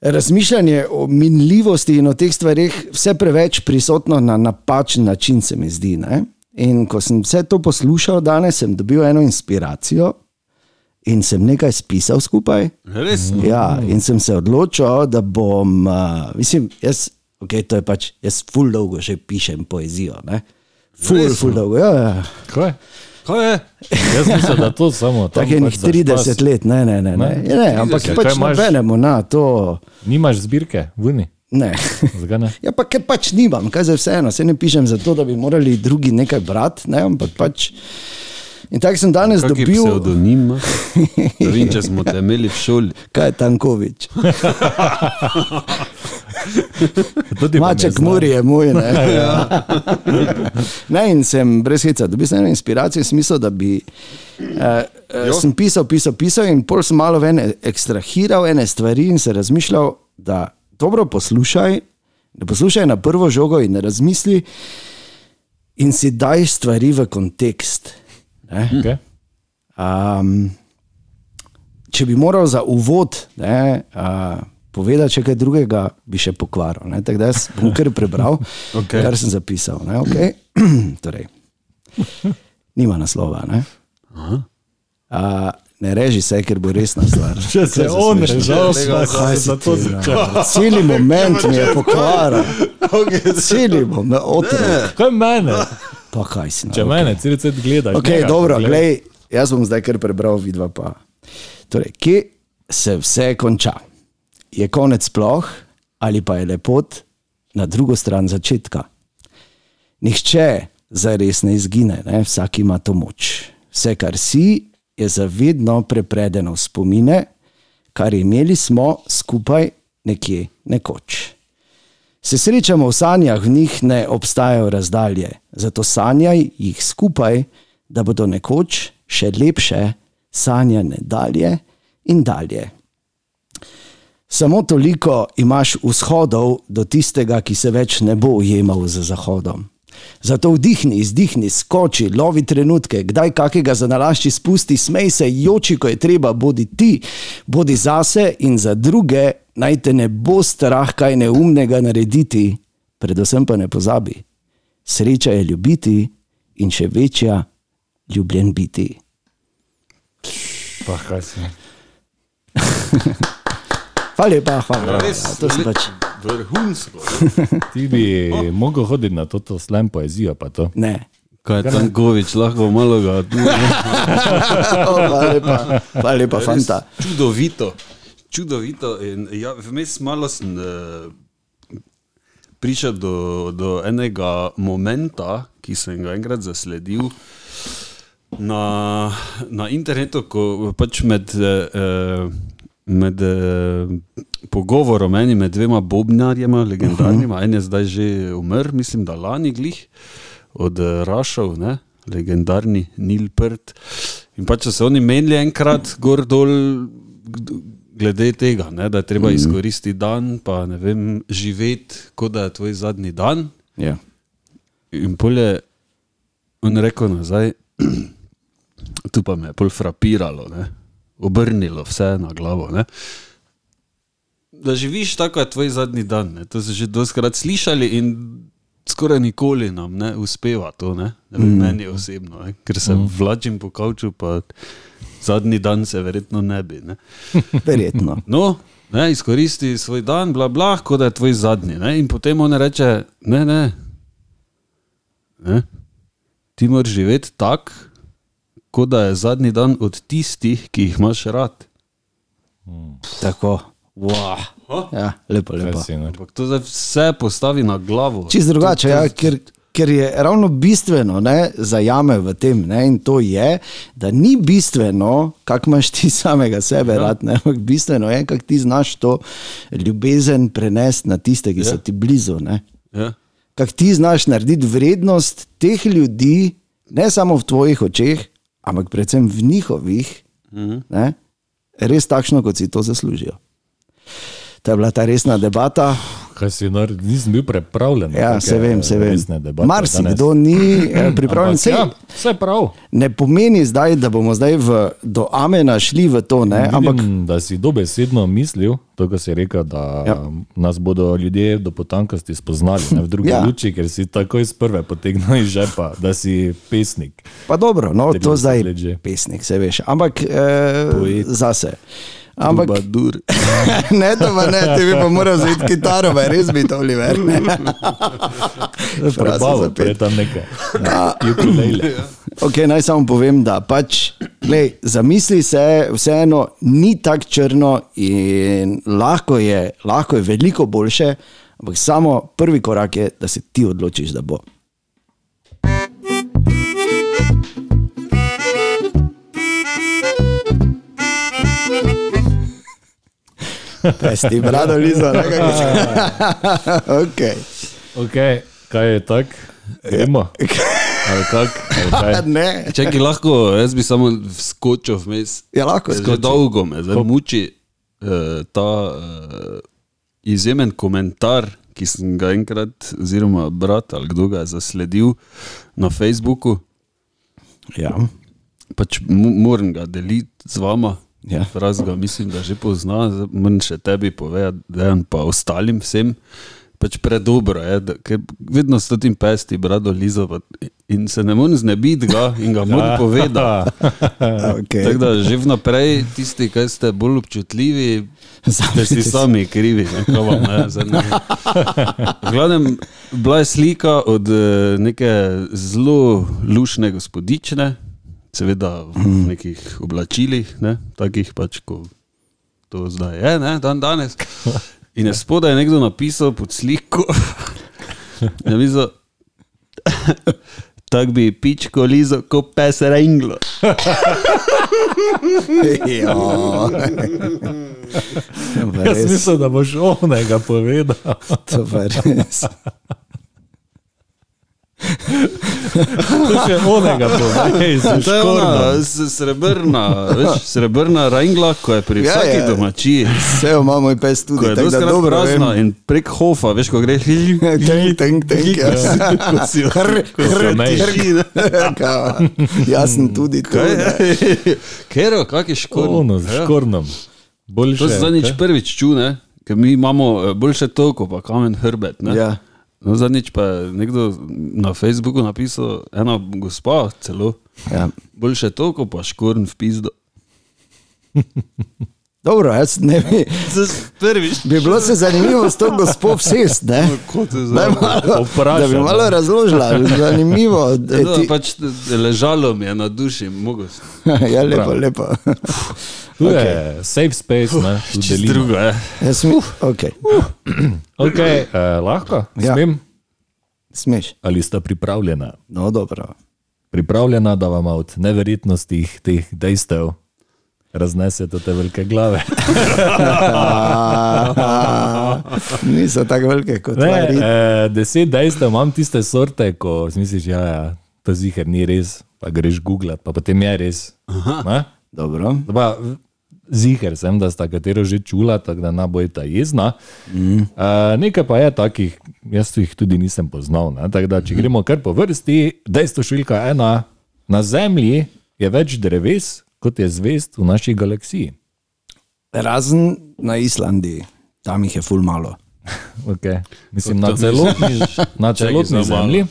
[SPEAKER 3] razmišljanje o minljivosti in o teh stvarih vse preveč prisotno na napačen način, se mi zdi. Ne. In ko sem vse to poslušal danes, sem dobil eno inspiracijo in sem nekaj spisal skupaj.
[SPEAKER 4] Res.
[SPEAKER 3] Ja, in sem se odločil, da bom, uh, mislim, jaz, okay, to je pač, jaz ful dolgo že pišem poezijo. Ne? Ful,
[SPEAKER 4] Resno?
[SPEAKER 3] ful dolgo. Ja, ja.
[SPEAKER 2] Kaj?
[SPEAKER 4] Kaj je?
[SPEAKER 2] Jaz mislim, da to
[SPEAKER 3] (laughs)
[SPEAKER 2] samo tam
[SPEAKER 3] Tako je
[SPEAKER 2] pač
[SPEAKER 3] nek
[SPEAKER 2] zašpas.
[SPEAKER 3] 30 let, ne, ne, ne. Ja, ne. ne, ne ampak
[SPEAKER 2] 30, kaj
[SPEAKER 3] pač
[SPEAKER 2] imaš?
[SPEAKER 3] nobenemu na to.
[SPEAKER 2] Nimaš zbirke, vuni.
[SPEAKER 3] Ne. (laughs)
[SPEAKER 2] Zakaj ne?
[SPEAKER 3] Ja, pa ker pač nimam, kaj za vseeno, se ne pišem zato, da bi morali drugi nekaj brati, ne, ampak pač. In tako sem danes
[SPEAKER 4] Kaki
[SPEAKER 3] dobil,
[SPEAKER 4] psevdonim?
[SPEAKER 3] (laughs)
[SPEAKER 4] imaš? Da vem, če smo te imeli v šoli.
[SPEAKER 3] kaj je Tankovič.
[SPEAKER 2] Tudi
[SPEAKER 3] Maček Muri je moj. Ne? Ja. ne, in sem brez heca, dobil sem eno inspiracijo, smisel, da bi. Uh, uh, sem pisal, pisal, pisal, in pol sem malo ven ekstrahiral ene stvari in se razmišljal, da dobro poslušaj, da poslušaj na prvo žogo in razmisli, in si daj stvari v kontekst. Ne?
[SPEAKER 2] Okay.
[SPEAKER 3] Um, če bi moral za uvod ne, uh, povedati še kaj drugega, bi še pokvaril. ne. Tako da jaz bom kar
[SPEAKER 2] (laughs)
[SPEAKER 3] prebral,
[SPEAKER 4] Okej.
[SPEAKER 3] okay. kar sem zapisal. Ne, okay. (clears throat) torej, nima naslova. Ne. Uh, Ne reži se, ker bo resna
[SPEAKER 2] (laughs)
[SPEAKER 3] stvar.
[SPEAKER 2] Če se on režal,
[SPEAKER 3] Kaj
[SPEAKER 2] se
[SPEAKER 3] si
[SPEAKER 2] zato
[SPEAKER 3] ti,
[SPEAKER 2] začel.
[SPEAKER 3] Celi moment mi je pokvaril.
[SPEAKER 2] (laughs)
[SPEAKER 3] Celi bom, me otrok.
[SPEAKER 2] Kaj mene?
[SPEAKER 3] (laughs) Pa kaj si
[SPEAKER 2] Če
[SPEAKER 3] naredil?
[SPEAKER 2] mene, celi cel gledaš.
[SPEAKER 3] Okay,
[SPEAKER 2] njega,
[SPEAKER 3] dobro,
[SPEAKER 2] poglej.
[SPEAKER 3] glej, jaz bom zdaj kar prebral, vidva pa. Torej, kje se vse konča? Je konec sploh ali pa je lepot na drugo stran začetka? Nihče zares ne izgine, ne? vsak ima to moč. Vse, kar si, je zavedno prepredeno v spomine, kar imeli smo skupaj nekje nekoč. Se srečamo v sanjah, v njih ne obstajajo razdalje, zato sanjaj jih skupaj, da bodo nekoč še lepše sanjane dalje in dalje. Samo toliko imaš vzhodov do tistega, ki se več ne bo ujemal z zahodom. Zato vdihni, izdihni, skoči, lovi trenutke, kdaj kakega zanalašči spusti, smej se, joči, ko je treba, bodi ti, bodi zase in za druge, naj te ne bo strah kaj neumnega narediti, predvsem pa ne pozabi. Sreča je ljubiti in še večja ljubljen biti.
[SPEAKER 2] Pa kaj si.
[SPEAKER 3] Hvala lepa, hvala.
[SPEAKER 4] Res,
[SPEAKER 3] Ja, to sem pač.
[SPEAKER 4] Vrhunsko.
[SPEAKER 2] Ti bi mogel hoditi na to, to slem poezijo, pa to.
[SPEAKER 3] Ja, Ne. Ja,
[SPEAKER 4] Kaj je Tankovič, lahko malo
[SPEAKER 3] (laughs)
[SPEAKER 4] ga tu.
[SPEAKER 3] Hvala lepa, hvala lepa, fanta.
[SPEAKER 4] Čudovito. Čudovito. In Ja, vmes malo sem eh, prišel do, do enega momenta, ki sem ga enkrat zasledil. Na, na internetu, ko pač med, eh, med eh, pogovorom eni med dvema bobnarjema, legendarnima, en je zdaj že umrl, mislim, da lani glih od eh, Rašov, ne? legendarni Nil Prt. In pač so se oni menili enkrat gor dol gd- glede tega, ne? da je treba izkoristiti dan, pa ne vem, živeti, kot da je tvoj zadnji dan.
[SPEAKER 3] Ja.
[SPEAKER 4] In polje, on rekel nazaj, (clears throat) tu pa me je pol frapiralo, ne? obrnilo vse na glavo. Ne? Da živiš tako, je tvoj zadnji dan. Ne? To si že doskrat slišali in skoraj nikoli nam ne uspeva to, ne? Ne vem, mm. meni osebno, ne? ker se mm. vlačim po kavču, pa zadnji dan se verjetno ne bi. Ne?
[SPEAKER 3] Verjetno.
[SPEAKER 4] No, ne, izkoristi svoj dan, bla, bla, kot da je tvoj zadnji. Ne? In potem on reče, ne, ne, ne. ti moraš živeti tako, kot da je zadnji dan od tistih, ki jih imaš rad.
[SPEAKER 3] (laughs) Tako. Wow. Ja, lepo,
[SPEAKER 2] Kaj
[SPEAKER 3] lepo.
[SPEAKER 2] si, nor.
[SPEAKER 4] Ampak to zdaj vse postavi na glavo.
[SPEAKER 3] Čist drugače, ja, ker, ker je ravno bistveno ne, za jame v tem. Ne, in to je, da ni bistveno, kako imaš ti samega sebe ja. rad, ne, ampak bistveno je, kako ti znaš to ljubezen prenesti na tiste, ki ja. so ti blizu. Ne.
[SPEAKER 4] Ja.
[SPEAKER 3] Kako ti znaš narediti vrednost teh ljudi, ne samo v tvojih očeh, ampak predvsem v njihovih, mhm. ne, res takšno, kot si to zaslužijo. To je bila ta resna debata.
[SPEAKER 2] Kaj si, nor, nisem bil prepravljen. na
[SPEAKER 3] Ja,
[SPEAKER 2] take
[SPEAKER 3] se vem, se vem.
[SPEAKER 2] resne debate danes.
[SPEAKER 3] Marsikdo ni eh, pripravljen.
[SPEAKER 2] Ampak
[SPEAKER 3] Sej,
[SPEAKER 2] Ja, vse prav.
[SPEAKER 3] ne pomeni zdaj, da bomo zdaj v, do Amena šli v to, ne? ampak
[SPEAKER 2] Ampak, Vidim, da si dobesedno mislil, to, kar si rekel, da ja. nas bodo ljudje do potankosti spoznali, ne v drugi
[SPEAKER 3] Ja.
[SPEAKER 2] ja. luči, ker si takoj iz prve potegnil iz žepa, da si pesnik.
[SPEAKER 3] pa dobro, no,
[SPEAKER 2] Treba
[SPEAKER 3] to
[SPEAKER 2] se
[SPEAKER 3] zdaj
[SPEAKER 2] gledati že.
[SPEAKER 3] pesnik, se veš. Ampak eh, zase. Ampak
[SPEAKER 4] Ampak, dur.
[SPEAKER 3] (laughs) ne, to pa ne, ti bi pa moral vzeti kitaro, pa je res bi to oliver. ne. Fraza za
[SPEAKER 2] Prebavo,
[SPEAKER 3] pet. Ja.
[SPEAKER 2] je tam nekaj. Ukulele.
[SPEAKER 3] Okay, naj samo povem, da pač, glej, zamisli se, vseeno ni tako črno in lahko je, lahko je veliko boljše, ampak samo prvi korak je, da se ti odločiš, da bo. Pesti, brado, lizo, nekako.
[SPEAKER 4] (laughs)
[SPEAKER 3] (laughs) okay.
[SPEAKER 4] Eh.
[SPEAKER 2] Okay, kaj je tak? Gremo. Ali kak? Ali (laughs) kaj?
[SPEAKER 3] Ja, Ne,
[SPEAKER 4] Če ki lahko, jaz bi samo skočil vmes.
[SPEAKER 3] je lahko.
[SPEAKER 4] Zelo dolgo me zdaj muči uh, ta uh, izjemen komentar, ki sem ga enkrat, oziroma brat ali kdo ga je zasledil na Facebooku.
[SPEAKER 3] Ja.
[SPEAKER 4] Pač mo- moram ga deliti z vama.
[SPEAKER 3] Ja.
[SPEAKER 4] Raz ga mislim, da že pozna, zdaj moram še tebi povedati, da je pa ostalim vsem. pač predobro je, da, ker vedno so ti pesti, brado Lizo, pa- in se ne morem znebiti ga in ga moram povedati. Tako
[SPEAKER 3] Okay.
[SPEAKER 4] da že vnaprej tisti, ki ste bolj občutljivi, ste si sami krivi. Ne, kaj vam, ne, zdaj ne. vem. V glavnem, bila je slika od eh, neke zelo lušne gospodične, seveda v nekih oblačilih, ne, takih pač, kot to zdaj je, ne, dan danes. In je spodaj nekdo napisal pod sliko, (laughs) da bi (laughs) za. Tako bi pičko lizo, kot pes renglo.
[SPEAKER 3] Ja.
[SPEAKER 2] Jaz mislim, Ja, da boš onega povedal.
[SPEAKER 3] To (laughs) pa res.
[SPEAKER 2] Še (laughs) onega povedal.
[SPEAKER 4] To je ona s- srebrna, veš, srebrna rengla, ko je pri
[SPEAKER 3] Ja,
[SPEAKER 4] vsaki
[SPEAKER 3] je.
[SPEAKER 4] domačiji.
[SPEAKER 3] Vse ima moj pes tudi,
[SPEAKER 4] Ko je
[SPEAKER 3] tako da
[SPEAKER 4] doskrat
[SPEAKER 3] dobro
[SPEAKER 4] prazna
[SPEAKER 3] vem.
[SPEAKER 4] in prek hofa, veš, ko (laughs) greš.
[SPEAKER 3] Tenk, tenk, tenk, ja.
[SPEAKER 4] Ko si jo-
[SPEAKER 3] Hr,
[SPEAKER 4] ko si jo
[SPEAKER 2] hr,
[SPEAKER 4] meješ.
[SPEAKER 3] Kao, Jaz sem tudi tu.
[SPEAKER 4] Kaj
[SPEAKER 3] ne.
[SPEAKER 4] je? (laughs) Kero, kak je škorn?
[SPEAKER 2] Ono, z
[SPEAKER 4] Ja.
[SPEAKER 2] škornom. Boljše,
[SPEAKER 4] To se zadnjič
[SPEAKER 2] kaj?
[SPEAKER 4] prvič čune, ker mi imamo eh, boljše to, kot pa kamen hrbet. Ne?
[SPEAKER 3] Ja.
[SPEAKER 4] No, zadnjič pa je nekdo na Facebooku napisal, ena gospa celo,
[SPEAKER 3] Ja.
[SPEAKER 4] boljše to, kot pa škorn v pizdo. (laughs)
[SPEAKER 3] Dobro, jaz ne bi.
[SPEAKER 4] Zdaj Prvič.
[SPEAKER 3] Bi bilo se zanimivo s to gospod vsest, ne?
[SPEAKER 4] Kako to
[SPEAKER 3] Daj
[SPEAKER 4] zdaj?
[SPEAKER 3] Malo,
[SPEAKER 2] Vprašaj,
[SPEAKER 3] da bi
[SPEAKER 2] ne.
[SPEAKER 3] malo razložila,
[SPEAKER 4] (laughs)
[SPEAKER 3] zanimivo.
[SPEAKER 4] Ja,
[SPEAKER 3] E,
[SPEAKER 4] to,
[SPEAKER 3] ti-
[SPEAKER 4] pač, ležalo mi je na duši, mogoče.
[SPEAKER 3] (laughs) Ja, lepo, lepo.
[SPEAKER 2] Tu je safe space, ne? tu delimo.
[SPEAKER 4] Drugo ja. je.
[SPEAKER 3] Jaz mi, okay.
[SPEAKER 2] Okay, eh, lahko,
[SPEAKER 3] Ja.
[SPEAKER 2] ja. smem.
[SPEAKER 3] Smeš.
[SPEAKER 2] Ali sta pripravljena?
[SPEAKER 3] No, dobro.
[SPEAKER 2] Pripravljena, da vam od neverjetnosti teh dejstev raznesete te velike glave.
[SPEAKER 3] Niso tako velike kot
[SPEAKER 2] Ne,
[SPEAKER 3] stvari.
[SPEAKER 2] eh, deset dejstev imam tiste sorte, ko si misliš, ja, ja, to zihar ni res, pa greš googlat, pa potem je res. Ne?
[SPEAKER 3] Dobro.
[SPEAKER 2] Da Pa, zihar sem, da sta katero že čula, tako da nabojta jezna. Mm. Uh, nekaj pa je takih, jaz jih tudi nisem poznal. Ne? Tako da, če gremo kar po vrsti, dejstvo številka ena, na Zemlji je več dreves, kot je zvest v naši galaksiji.
[SPEAKER 3] Razen na Islandiji, tam jih je ful malo.
[SPEAKER 2] Okay. Mislim, na celotni, na celotni
[SPEAKER 4] zdaj malo.
[SPEAKER 2] Zemlji.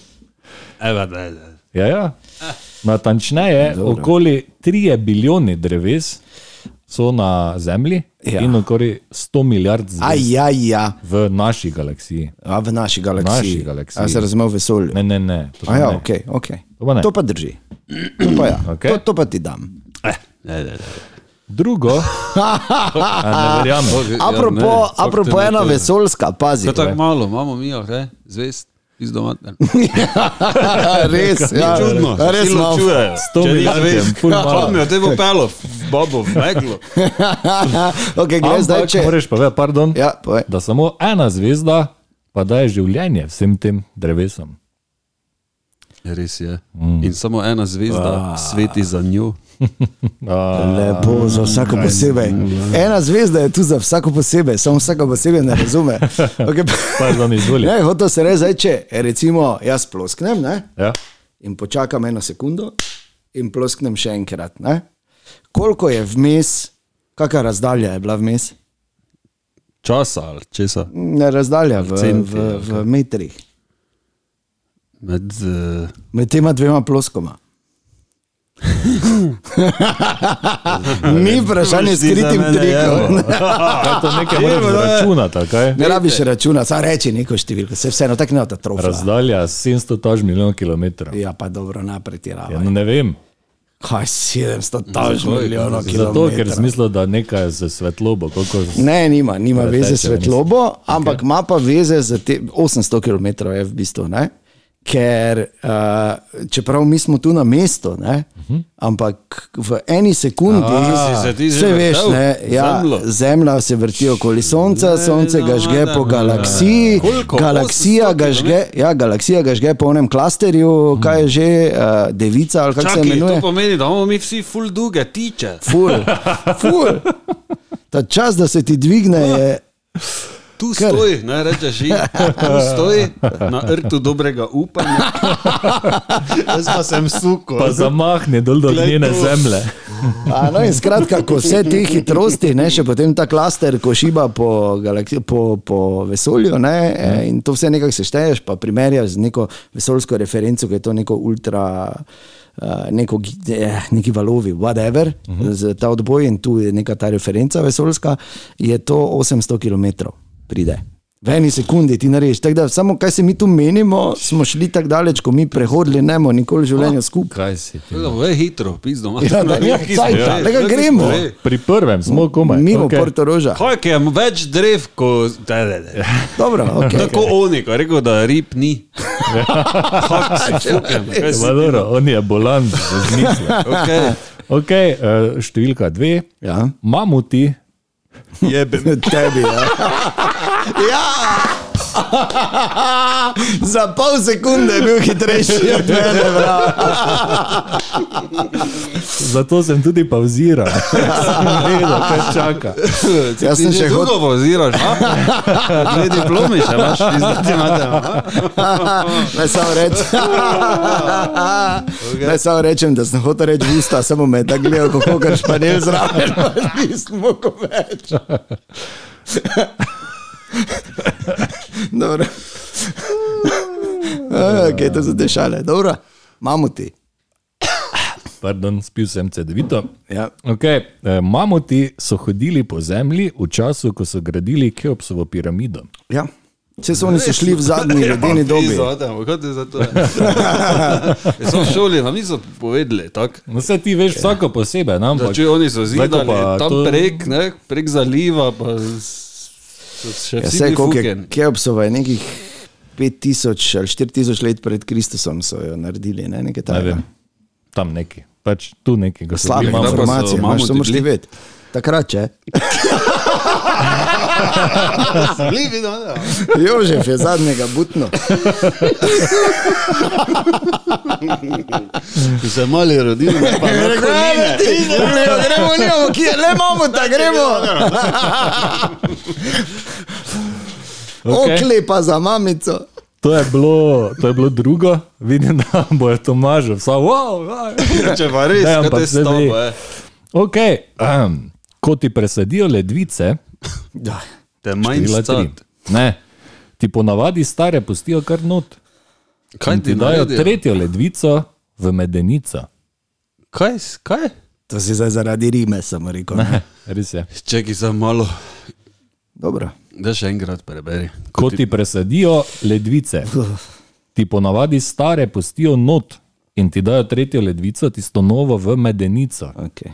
[SPEAKER 4] Eva, da je.
[SPEAKER 2] Ja, ja. Natančneje, Dobro. okoli 3 bilijoni dreves so na Zemlji
[SPEAKER 3] Ja.
[SPEAKER 2] ja. in okoli 100 milijard zvest
[SPEAKER 3] Ajaj, ja.
[SPEAKER 2] v naši galaksiji.
[SPEAKER 3] A v naši galaksiji.
[SPEAKER 2] Naši galaksiji.
[SPEAKER 3] A se razumel v vesolju.
[SPEAKER 2] Ne, ne, ne. to
[SPEAKER 3] A ja,
[SPEAKER 2] ne.
[SPEAKER 3] okay, okay.
[SPEAKER 2] To pa ne.
[SPEAKER 3] to pa drži. To pa, ja.
[SPEAKER 2] (clears throat)
[SPEAKER 3] okay.
[SPEAKER 2] Okej.
[SPEAKER 3] to, to pa ti dam. (laughs)
[SPEAKER 2] Drugo, a ne verjamem.
[SPEAKER 3] Apropo, ja, apropo ena vesoljska, pazi.
[SPEAKER 4] To je tako malo, imamo mi, jo, ne? zvest, izdomaten.
[SPEAKER 3] (laughs) res, ja,
[SPEAKER 4] Čudno,
[SPEAKER 3] res
[SPEAKER 4] silo
[SPEAKER 3] (laughs) malo.
[SPEAKER 4] čujejo.
[SPEAKER 2] Sto milijard je ful malo.
[SPEAKER 4] Spomnim, da je bilo pelo, v bobo, v meglo.
[SPEAKER 3] okay, gled, zdaj,
[SPEAKER 2] Ampak
[SPEAKER 3] če...
[SPEAKER 2] moraš pa vedeti, pardon, ja.
[SPEAKER 3] ja, povej.
[SPEAKER 2] da samo ena zvezda pa daje življenje vsem tem drevesom.
[SPEAKER 4] Ja, Res je. In samo ena zvezda sveti za njo.
[SPEAKER 3] Lepo, za vsako posebej. Ena zvezda je tu za vsako posebej, samo vsako posebej ne
[SPEAKER 2] (laughs)
[SPEAKER 3] razume. Okay.
[SPEAKER 2] Pardon, izvoli.
[SPEAKER 3] Ne, hotel se reči, zdaj, če e, recimo jaz plosknem ne,
[SPEAKER 2] Ja.
[SPEAKER 3] in počakam eno sekundo in plosknem še enkrat. Ne. Koliko je vmes, kakšna razdalja je bila vmes?
[SPEAKER 4] Časa ali česa.
[SPEAKER 3] Ne, razdalja v,
[SPEAKER 4] Centi,
[SPEAKER 3] v, v metrih,
[SPEAKER 4] Med, uh,
[SPEAKER 3] med tema dvema
[SPEAKER 2] (laughs)
[SPEAKER 3] ploskoma. Ni vprašanje s kritim
[SPEAKER 2] ja,
[SPEAKER 3] trikom.
[SPEAKER 2] no. Kaj to nekaj moraš računati, kaj?
[SPEAKER 3] Ne rabiš računati, samo reči neko številko, se vseeno tako ne ota trofa.
[SPEAKER 2] Razdalja 700 taž milijon kilometrov.
[SPEAKER 3] Ja, pa dobro, ne pretiravaj.
[SPEAKER 2] Ja, no ne vem.
[SPEAKER 3] Kaj 700 taž milijonov
[SPEAKER 2] Zato, ker
[SPEAKER 3] kilometrov.
[SPEAKER 2] smisel, da nekaj z svetlobo, koliko z...
[SPEAKER 3] Ne, nima, nima
[SPEAKER 2] Ja,
[SPEAKER 3] veze
[SPEAKER 2] teče,
[SPEAKER 3] s svetlobo, ampak ima pa veze z te 800 km je v bistvu. Ne? Ker uh, čeprav mi smo tu na mestu, ne, ampak v eni sekundi
[SPEAKER 4] A, si se ti že
[SPEAKER 3] vse veš,
[SPEAKER 4] vrtel?
[SPEAKER 3] ne, ja,
[SPEAKER 4] Zemljo?
[SPEAKER 3] zemlja se vrti okoli Sonca, Sonce ga žge po galaksiji,
[SPEAKER 4] Koliko?
[SPEAKER 3] galaksija
[SPEAKER 4] 800
[SPEAKER 3] ga žge, ja, galaksija ga žge po onem klasterju, kaj je že, uh, devica ali kako se
[SPEAKER 4] čakaj,
[SPEAKER 3] imenuje.
[SPEAKER 4] to pomeni, da imamo mi vsi full duge tiče.
[SPEAKER 3] Ful, ful.
[SPEAKER 4] (laughs)
[SPEAKER 3] Ta čas, da se ti dvigne, je.
[SPEAKER 4] Tu stoji, ne rečeš, in tu stoji na rtu dobrega upanja. Jaz pa sem suko.
[SPEAKER 2] Pa zamahne dol do
[SPEAKER 4] Glej
[SPEAKER 2] njene
[SPEAKER 4] to.
[SPEAKER 2] zemlje.
[SPEAKER 3] A, no in skratka, ko vse te hitrosti, ne, še potem ta klaster, ko šiba po, galaksi, po, po vesolju, ne, eh, in to vse nekako sešteješ, pa primerjaš z neko vesoljsko referenco, ki je to neko ultra. eh, Neko, gi- eh, neki valovi, whatever, uh
[SPEAKER 2] Mhm.
[SPEAKER 3] -huh. z ta odboj in tu je neka ta referenca vesoljska, je to 800 km, pride. V eni sekundi ti narediš. Tako da, samo kaj se mi tu menimo, smo šli tako daleč, ko mi prehodili, ne bomo nikoli v
[SPEAKER 2] Ah,
[SPEAKER 3] življenju skupaj.
[SPEAKER 2] Kaj si ti?
[SPEAKER 4] Ve hitro, pizdo.
[SPEAKER 3] Ja, da, ja, cajt, le ga gremo.
[SPEAKER 2] Pri prvem smo komaj.
[SPEAKER 3] Mimo okay.
[SPEAKER 2] okej.
[SPEAKER 3] Porto Roža.
[SPEAKER 4] Hojke je več drev, kot... Da, da,
[SPEAKER 3] Ja,
[SPEAKER 4] da.
[SPEAKER 3] Dobro, okay.
[SPEAKER 4] Tako oni, ko je rekel, da rib ni. Hak
[SPEAKER 3] Ja.
[SPEAKER 4] si fukem, kaj si
[SPEAKER 2] Ma dobro, on je bolan, za zmisel.
[SPEAKER 4] Okay.
[SPEAKER 2] Okay, eh, številka dve,
[SPEAKER 3] Ja.
[SPEAKER 2] mamuti.
[SPEAKER 4] Jebe.
[SPEAKER 3] (laughs) Tebi, ja.
[SPEAKER 4] (laughs)
[SPEAKER 3] ja. Za pol sekunde je bil hitrejši od mene. bravo.
[SPEAKER 2] Zato sem tudi (laughs) pauziral, sem vedel, kaj čaka.
[SPEAKER 3] Jaz sem še hodil.
[SPEAKER 4] Drugo voziraš, a? Dve diplomi še imaš, izdati imate. a?
[SPEAKER 3] (laughs) Naj samo rečem. Naj samo rečem, da sem hotel reči v usta, samo me je tako gledal, kako kar španel zraven. (laughs) Nisem mogel več. (laughs) Dobro. (laughs) Kaj okay, to so dešale? Dobro, mamuti.
[SPEAKER 2] Pardon, spil sem CD-vito.
[SPEAKER 3] Ja.
[SPEAKER 2] Okay. eh, Mamuti so hodili po zemlji v času, ko so gradili Keopsovo piramido.
[SPEAKER 3] Ja. Če (laughs) so oni so šli v (laughs) zadnji
[SPEAKER 4] Ja,
[SPEAKER 3] ledeni dobi.
[SPEAKER 4] Kaj ti
[SPEAKER 3] (laughs)
[SPEAKER 4] za to? Smo v šoli, vam niso povedali, tako.
[SPEAKER 2] No, vse ti veš, vsako posebej, no,
[SPEAKER 4] Da,
[SPEAKER 2] ampak
[SPEAKER 4] če oni so
[SPEAKER 2] Zdaj, ko
[SPEAKER 4] zidali,
[SPEAKER 2] pa
[SPEAKER 4] tam
[SPEAKER 2] to-
[SPEAKER 4] prek, ne, prek zaliva, pa s- so še
[SPEAKER 3] Ja,
[SPEAKER 4] vsi
[SPEAKER 3] vse,
[SPEAKER 4] bili
[SPEAKER 3] koliko je
[SPEAKER 4] fuken.
[SPEAKER 3] Keopsova je nekih 5000 ali 4000 let pred Kristusom so jo naredili, ne, nekaj
[SPEAKER 2] ne
[SPEAKER 3] takega.
[SPEAKER 2] vem, tam neki, pač tu neki, ko so
[SPEAKER 3] Slabe
[SPEAKER 2] bili
[SPEAKER 4] Kdaj pa so
[SPEAKER 2] mamuti.
[SPEAKER 3] informacije, imaš,
[SPEAKER 4] mamuti
[SPEAKER 3] to moraš ti
[SPEAKER 4] bili?
[SPEAKER 3] vedeti. Takrat, če. (laughs)
[SPEAKER 4] Zalivi, no, ja.
[SPEAKER 3] Jožef je zadnjega butno.
[SPEAKER 4] Ko se mali rodili, (laughs) ne, pa ne.
[SPEAKER 3] Ne, ti, gremo, gremo, nimamo kje, le imamo, da gremo. (laughs)
[SPEAKER 2] Okej.
[SPEAKER 3] Oklepa za mamico.
[SPEAKER 2] To je, bilo, to je bilo drugo, vidim, da bojo Tomažo, vsa wow. wow.
[SPEAKER 4] Če pa res,
[SPEAKER 2] Daj,
[SPEAKER 4] kaj
[SPEAKER 2] ampak
[SPEAKER 4] te eh?
[SPEAKER 2] zdaj
[SPEAKER 4] stopa,
[SPEAKER 2] bi-
[SPEAKER 4] je.
[SPEAKER 2] Ok, um, ko ti presadijo ledvice,
[SPEAKER 3] Da.
[SPEAKER 4] Te manj
[SPEAKER 2] bila tri.
[SPEAKER 4] stat.
[SPEAKER 2] Ne, ti ponavadi stare pustijo kar not.
[SPEAKER 4] Kaj ti
[SPEAKER 2] Ti dajo
[SPEAKER 4] naredijo?
[SPEAKER 2] tretjo ledvico v medenico. (laughs)
[SPEAKER 4] Kaj, s- kaj?
[SPEAKER 3] To si zdaj zaradi Rime, sem rekel. Ne.
[SPEAKER 2] Res je.
[SPEAKER 4] Čekaj za malo,
[SPEAKER 3] Dobro.
[SPEAKER 4] da še enkrat preberi.
[SPEAKER 2] ko ti presadijo ledvice, ti ponavadi stare pustijo not in ti dajo tretjo ledvico, tisto novo v medenico.
[SPEAKER 3] Okay.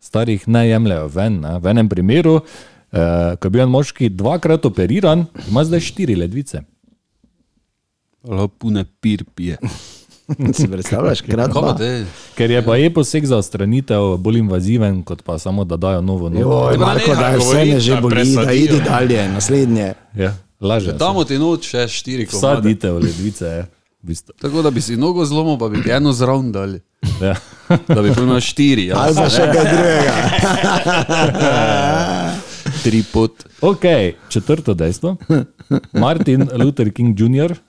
[SPEAKER 2] Starih ne jemljajo ven. Ne? V enem primeru, eh, ko je bil en moški dvakrat operiran, ima zdaj štiri ledvice.
[SPEAKER 4] Lopune pir pije.
[SPEAKER 3] (laughs) Si predstavljaš,
[SPEAKER 4] Kaj pa
[SPEAKER 3] kratko.
[SPEAKER 4] te?
[SPEAKER 2] Ker je pa je poseg za odstranitev bolj invaziven, kot pa samo da dajo novo nogo.
[SPEAKER 3] Oj,
[SPEAKER 4] Ma ne,
[SPEAKER 3] Marko, da je
[SPEAKER 4] da
[SPEAKER 3] vse
[SPEAKER 4] govori,
[SPEAKER 3] me že
[SPEAKER 4] da
[SPEAKER 3] boli, da
[SPEAKER 4] presadijo.
[SPEAKER 3] idi dalje, naslednje.
[SPEAKER 2] Ja, laže.
[SPEAKER 4] Damo ti noč še štiri komade.
[SPEAKER 2] Sadite v ledvice. je, V bistvu.
[SPEAKER 4] Tako da bi si nogo zlomil, pa bi ti eno zraven dali.
[SPEAKER 2] ja.
[SPEAKER 4] Da bi pojmal štiri, ja.
[SPEAKER 3] Ali pa še kaj
[SPEAKER 4] (laughs)
[SPEAKER 3] drugega.
[SPEAKER 4] tri pot.
[SPEAKER 2] okay, četrto dejstvo. Martin Luther King Jr.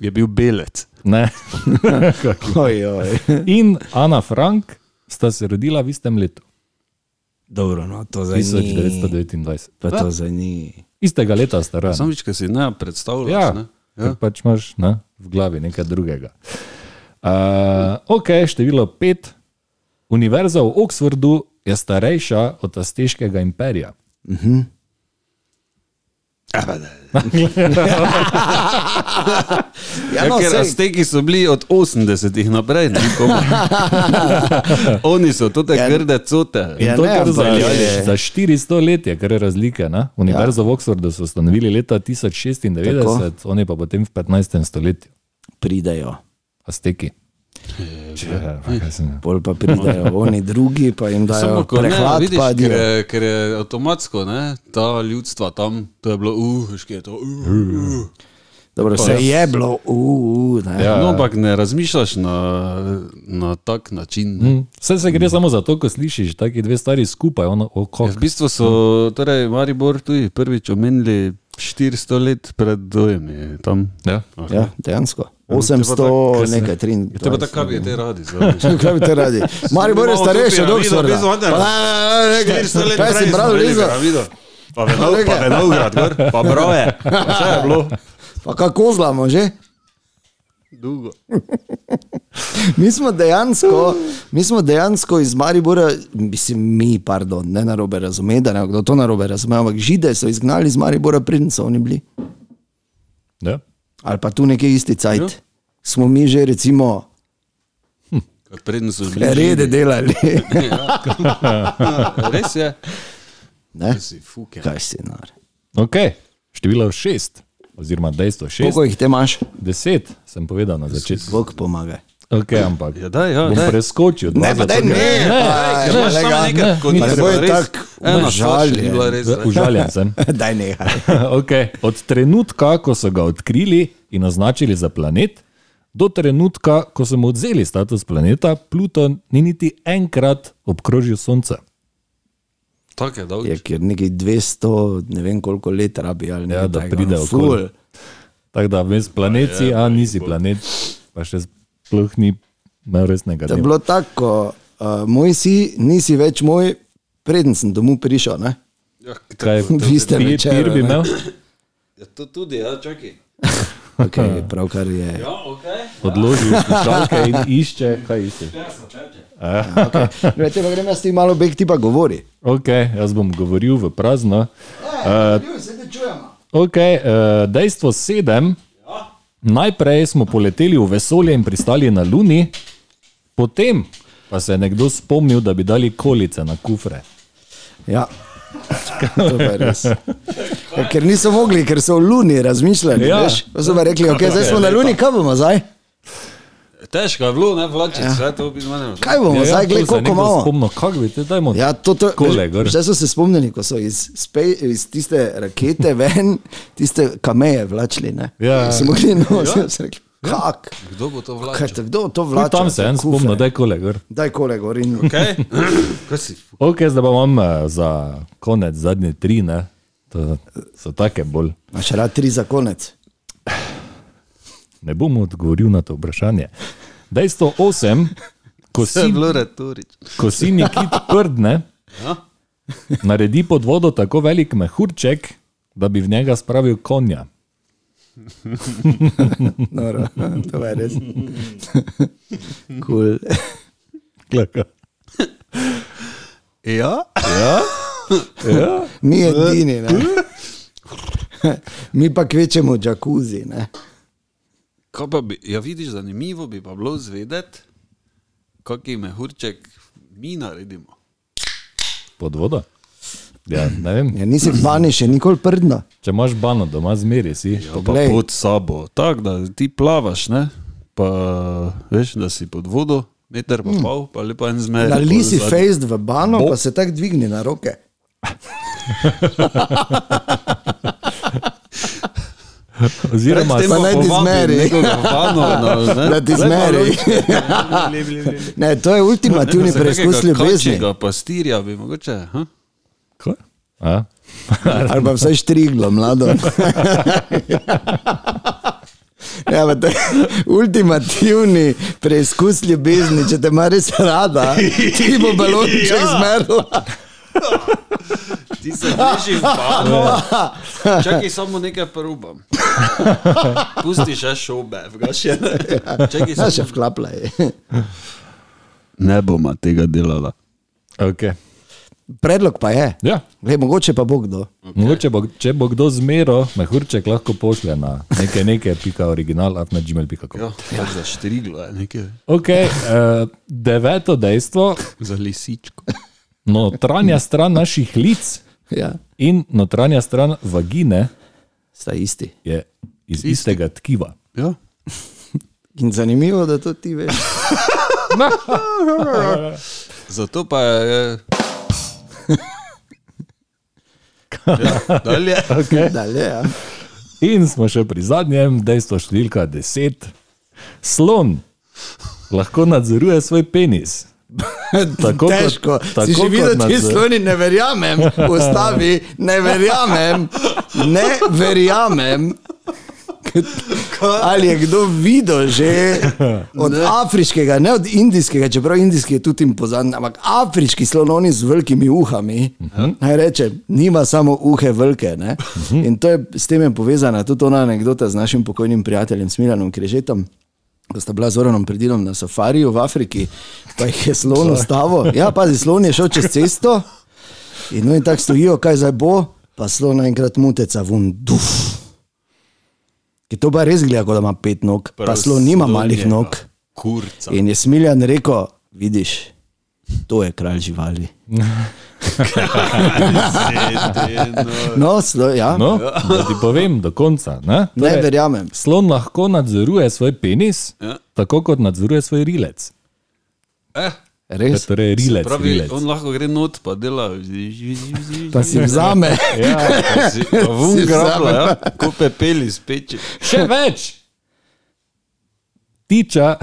[SPEAKER 4] Je bil belec.
[SPEAKER 2] Ne.
[SPEAKER 3] Oj, oj.
[SPEAKER 2] in Ana Frank sta se rodila v istem letu,
[SPEAKER 3] Dobro, no, to za ni.
[SPEAKER 2] 1929.
[SPEAKER 3] Pa to za ni.
[SPEAKER 2] Istega leta sta rojena.
[SPEAKER 4] Samič, ki si ne predstavljaš.
[SPEAKER 2] Ja,
[SPEAKER 4] Ne?
[SPEAKER 2] ker pač imaš ne, v glavi nekaj drugega. Uh, ok, število pet. Univerza v Oxfordu je starejša od Azteškega imperija.
[SPEAKER 4] Ja, no, ker
[SPEAKER 3] sej-
[SPEAKER 4] Azteki so bili od 80-ih naprej, ne (laughs) komaj. Oni so to te
[SPEAKER 3] Ja.
[SPEAKER 4] grde cote.
[SPEAKER 3] Ja,
[SPEAKER 2] In to
[SPEAKER 3] ne,
[SPEAKER 2] je kar za,
[SPEAKER 3] ampak je-
[SPEAKER 2] za 400 let, je kar je razlika. Ne? Univerzo ja. v Oxfordu so ustanovili leta 1096, oni pa potem v 15. stoletju,
[SPEAKER 3] Pridejo.
[SPEAKER 2] Azteki. Če, kaj sem-
[SPEAKER 3] Pol pa
[SPEAKER 4] (laughs)
[SPEAKER 3] pridejo oni drugi, pa jim dajo
[SPEAKER 4] Samo ko ne,
[SPEAKER 3] prehlad,
[SPEAKER 4] vidiš,
[SPEAKER 3] pa
[SPEAKER 4] ker,
[SPEAKER 3] adijo.
[SPEAKER 4] je, ker je avtomatsko, ne, ta ljudstva tam, to je bilo, uh, veš, kje je to, uh, uh.
[SPEAKER 3] Dobro, se je bilo, uuu, ne.
[SPEAKER 2] Ja,
[SPEAKER 4] No,
[SPEAKER 2] ja.
[SPEAKER 4] ampak ne razmišljaš na, na tak način. ne.
[SPEAKER 2] Mm, Vse se gre mm. samo za to, ko slišiš
[SPEAKER 4] Mm.
[SPEAKER 2] taki dve stari skupaj, ono oko.
[SPEAKER 4] Ja, V bistvu so, torej, Maribor tudi prvič omenili 400 let pred dojem je tam.
[SPEAKER 2] Ja.
[SPEAKER 4] Okay.
[SPEAKER 3] Ja, dejansko.
[SPEAKER 4] tako,
[SPEAKER 3] 800,
[SPEAKER 4] kaj se-
[SPEAKER 3] nekaj, 30.
[SPEAKER 4] Te pa tako, kaj bi te (laughs) radi zdaj.
[SPEAKER 3] Kaj bi te
[SPEAKER 4] (laughs)
[SPEAKER 3] radi? Maribor je
[SPEAKER 4] Imamo
[SPEAKER 3] starejši
[SPEAKER 4] tu
[SPEAKER 3] od
[SPEAKER 4] piramido,
[SPEAKER 3] Oxforda.
[SPEAKER 4] blizu Anderlecht.
[SPEAKER 3] Pa ne, ne, ne, ne,
[SPEAKER 4] 400 let
[SPEAKER 3] Kaj
[SPEAKER 4] prej
[SPEAKER 3] si
[SPEAKER 4] smo
[SPEAKER 3] bral,
[SPEAKER 4] imeli
[SPEAKER 3] Liza?
[SPEAKER 4] piramido. Pa venov, pa
[SPEAKER 3] Nekaj.
[SPEAKER 4] venovgrad, gor, pa broje. Vse je bilo.
[SPEAKER 3] Pa kako zlamo že?
[SPEAKER 4] Dugo.
[SPEAKER 3] Mi smo dejansko, mi smo dejansko iz Maribora, mislim, mi, pardon, ne na robe razume, da ne kdo to na robe razume, ampak žide so izgnali iz Maribora, pridn so oni bili.
[SPEAKER 2] Ja.
[SPEAKER 3] Ali pa tu nekje isti cajt. Smo mi že recimo
[SPEAKER 4] Preden so bili
[SPEAKER 3] rede delali.
[SPEAKER 4] živeli. Res je.
[SPEAKER 3] Ne?
[SPEAKER 4] Si fuke.
[SPEAKER 3] Kaj si nar?
[SPEAKER 2] Okay. Število šest, oziroma dejstvo šest,
[SPEAKER 3] Koliko jih te imaš?
[SPEAKER 2] deset sem povedal na začetku.
[SPEAKER 3] Bog pomagaj.
[SPEAKER 2] Okay, ampak
[SPEAKER 4] Ja, daj, ja,
[SPEAKER 2] bom
[SPEAKER 4] daj.
[SPEAKER 2] preskočil. dva,
[SPEAKER 3] Ne, pa
[SPEAKER 2] zato
[SPEAKER 3] daj,
[SPEAKER 2] ker-
[SPEAKER 3] ne, pa,
[SPEAKER 4] Ja, imaš samo
[SPEAKER 3] elegantno.
[SPEAKER 4] nekaj
[SPEAKER 3] Pa ne
[SPEAKER 4] konic,
[SPEAKER 3] bo je
[SPEAKER 4] res.
[SPEAKER 3] tako
[SPEAKER 4] Ena stvar še ni
[SPEAKER 3] užaljen.
[SPEAKER 4] bila res. ne.
[SPEAKER 2] Užaljen sem.
[SPEAKER 3] (laughs)
[SPEAKER 2] (laughs)
[SPEAKER 3] Daj nehaj.
[SPEAKER 2] okay. Od trenutka, ko so ga odkrili in označili za planet, do trenutka, ko so mu odzeli status planeta, Pluton ni niti enkrat obkrožil Sonca.
[SPEAKER 4] Tako je dolg.
[SPEAKER 3] Je kjer neki 200, ne vem koliko let rabi ali no, ne.
[SPEAKER 2] Ja, da pride okoli. Tako da vmes planet si, a nisi planet, pa še sploh ni imel resnega
[SPEAKER 3] To je
[SPEAKER 2] dela.
[SPEAKER 3] bilo tako, uh, moj si, nisi več moj, preden sem domov prišel. Ne?
[SPEAKER 4] Ja, tako.
[SPEAKER 2] Kaj
[SPEAKER 3] (laughs) Vi ste
[SPEAKER 2] pi-
[SPEAKER 3] večer,
[SPEAKER 2] pir bi
[SPEAKER 3] ne?
[SPEAKER 2] imel?
[SPEAKER 4] Ja, to tudi, ja, čakaj.
[SPEAKER 2] (laughs)
[SPEAKER 3] Okay, pravkar je.
[SPEAKER 4] Ja, ok.
[SPEAKER 2] Odložil slušalke in išče, kaj išče.
[SPEAKER 3] Glede, ja, grem jaz ti malo beg, ti pa govori.
[SPEAKER 2] Okay, jaz bom govoril v prazno. Eh,
[SPEAKER 3] Uh,
[SPEAKER 2] Okay, uh, dejstvo sedem. Najprej smo poleteli v vesolje in pristali na Luni, potem pa se je nekdo spomnil, da bi dali kolice na kufre.
[SPEAKER 3] ja. To pa je res. Ja, ker niso mogli, ker so v Luni razmišljali.
[SPEAKER 2] Ja.
[SPEAKER 3] Ja. So pa rekli, okay, zdaj smo na Luni, kaj bomo zdaj?
[SPEAKER 4] Težko je bilo, ne vlačiti, ja. vse to bi zmanjalo.
[SPEAKER 3] Kaj bomo ja, zdaj,
[SPEAKER 2] to se
[SPEAKER 3] gled,
[SPEAKER 2] je
[SPEAKER 3] koliko
[SPEAKER 2] nekdo
[SPEAKER 3] imamo?
[SPEAKER 2] Spomnil, kako bi te dajmo.
[SPEAKER 3] Ja, to, to,
[SPEAKER 2] Kole,
[SPEAKER 3] veš,
[SPEAKER 2] gor.
[SPEAKER 3] zdaj so se spomnili, ko so iz, spej, iz tiste rakete ven, tiste kameje vlačili. ne.
[SPEAKER 2] Ja, ja.
[SPEAKER 3] So mogli nositi, (laughs) so rekli, kak,
[SPEAKER 4] Kdo bo
[SPEAKER 3] kaj,
[SPEAKER 4] to vlačil?
[SPEAKER 3] to- kdo to
[SPEAKER 2] Tudi
[SPEAKER 3] vlači?
[SPEAKER 2] tam se je en spomnil, da je kolega.
[SPEAKER 3] Daj kole gor in
[SPEAKER 4] Kaj? Kaj si?
[SPEAKER 2] Ok, zdaj pa imam eh, za konec zadnje tri, ne? To so take bolj.
[SPEAKER 3] imaš rad tri za konec.
[SPEAKER 2] Ne bom odgovoril na to vprašanje. Dejstvo osem, ko
[SPEAKER 4] Vse je
[SPEAKER 2] si
[SPEAKER 4] bilo retorično.
[SPEAKER 2] ko sinji kit prdne,
[SPEAKER 4] Ja?
[SPEAKER 2] naredi pod vodo tako velik mehurček, da bi v njega spravil konja.
[SPEAKER 3] Noro, (laughs) to je res. Kul.
[SPEAKER 2] Glaka.
[SPEAKER 4] Ja?
[SPEAKER 2] Ja,
[SPEAKER 3] Mi edini, ne. (laughs) Mi pa kvečemo džakuzi, ne.
[SPEAKER 4] Kaj pa bi, ja vidiš, zanimivo bi pa bilo zvedeti, kakšen mehurček mi naredimo.
[SPEAKER 2] pod vodo. Ja, ne vem,
[SPEAKER 3] Ja,
[SPEAKER 2] (clears throat)
[SPEAKER 3] nisi bani še nikoli prdno.
[SPEAKER 2] če imaš bano doma, zmeri si.
[SPEAKER 4] Ja, pa
[SPEAKER 3] Poglej.
[SPEAKER 4] pod sabo, tako da ti plavaš, ne? Pa veš, da si pod vodo, meter pa pol, pa lepo en zmer.
[SPEAKER 3] Hmm. Na lisi fejst v bano, pa se tako dvigni na roke.
[SPEAKER 2] Oziroma,
[SPEAKER 3] Pa naj ti zmeri. (laughs)
[SPEAKER 4] no,
[SPEAKER 2] Eh?
[SPEAKER 3] Da ti zmeri. (laughs) Ne, to je ultimativni preizkus ljubezni.
[SPEAKER 4] Kakšnega pastirja bi mogoče, hm? ha?
[SPEAKER 2] Kaj? A? (laughs)
[SPEAKER 3] Ali pa vsaj štriglo, mlado. (laughs) Ja, pa to je ultimativni preizkus ljubezni, če te ima res rada, ti bo balonček ja. zmerla.
[SPEAKER 4] Ti se drži v bano.
[SPEAKER 3] (laughs)
[SPEAKER 4] Čakaj, samo nekaj probam. Pusti še šobe, vgašene. Čakaj,
[SPEAKER 3] Ja,
[SPEAKER 4] samo-
[SPEAKER 3] še vklapla je.
[SPEAKER 4] Ne bomo tega delala.
[SPEAKER 2] Okay.
[SPEAKER 3] Predlog pa je,
[SPEAKER 2] Ja.
[SPEAKER 3] Le, mogoče pa bo kdo.
[SPEAKER 2] Okay. Mogoče bo, če bo kdo zmero, mehurček lahko pošlje na nekaj, nekaj, pika original, afna gmail.com.
[SPEAKER 4] Jo, ja. Za štriglo je nekaj,
[SPEAKER 2] Okay, uh, deveto dejstvo,
[SPEAKER 4] za lisičko.
[SPEAKER 2] notranja stran naših lic
[SPEAKER 3] Ja,
[SPEAKER 2] in notranja stran vagine
[SPEAKER 3] sta isti.
[SPEAKER 2] je iz istega tkiva.
[SPEAKER 4] Ja.
[SPEAKER 3] In zanimivo, da to ti veš.
[SPEAKER 4] Zato pa eh, je. Ja, dalje.
[SPEAKER 2] Okay.
[SPEAKER 3] Dalje, (laughs) ja.
[SPEAKER 2] In smo še pri zadnjem, dejstvo številka 10. Slon lahko nadzoruje svoj penis. Tako kot-
[SPEAKER 3] težko.
[SPEAKER 2] tako
[SPEAKER 3] si že
[SPEAKER 2] kot
[SPEAKER 3] videl, da ti
[SPEAKER 2] nadzor.
[SPEAKER 3] sloni ne verjamem, ustavi, ne verjamem, ne verjamem. Ali je kdo videl (laughs) že od ne. afriškega, ne od indijskega, čeprav indijski je tudi jim poznan, ampak afriški slonovni z velikimi uhami, uh -huh. naj reče, nima samo uhe velike. ne. In to je s tem je povezana tudi ona anekdota z našim pokojnim prijateljem Smilanom Križetom. Ko sta bila z Oranom predilom na safariju v Afriki, pa jih je slon ustavil. Ja, pazi, slon je šel čez cesto in, no, in tako stojijo, kaj zdaj bo, pa slon naenkrat muteca vun, duf. Ki to pa res gleda, kot da ima pet nog, pa slon nima malih
[SPEAKER 4] no.
[SPEAKER 3] nog. Ja.
[SPEAKER 4] Kurca.
[SPEAKER 3] In je smiljan rekel, vidiš, to je kralj živali. No, slo, ja. no,
[SPEAKER 2] No, da ti povem do konca. Ne? Torej,
[SPEAKER 3] ne verjamem.
[SPEAKER 2] Slon lahko nadzoruje svoj penis, ja.
[SPEAKER 4] Ja.
[SPEAKER 2] tako kot nadzoruje svoj rilec.
[SPEAKER 4] Eh,
[SPEAKER 3] Res.
[SPEAKER 2] Torej, rilec,
[SPEAKER 4] pravi,
[SPEAKER 2] rilec.
[SPEAKER 4] on lahko gre not, pa dela. (laughs)
[SPEAKER 3] Pa si vzame.
[SPEAKER 2] Ja,
[SPEAKER 4] Vun
[SPEAKER 3] Si
[SPEAKER 4] grabla,
[SPEAKER 3] vzame.
[SPEAKER 4] ja. Ko pepeli
[SPEAKER 3] (laughs)
[SPEAKER 4] speče.
[SPEAKER 2] še več. Tiča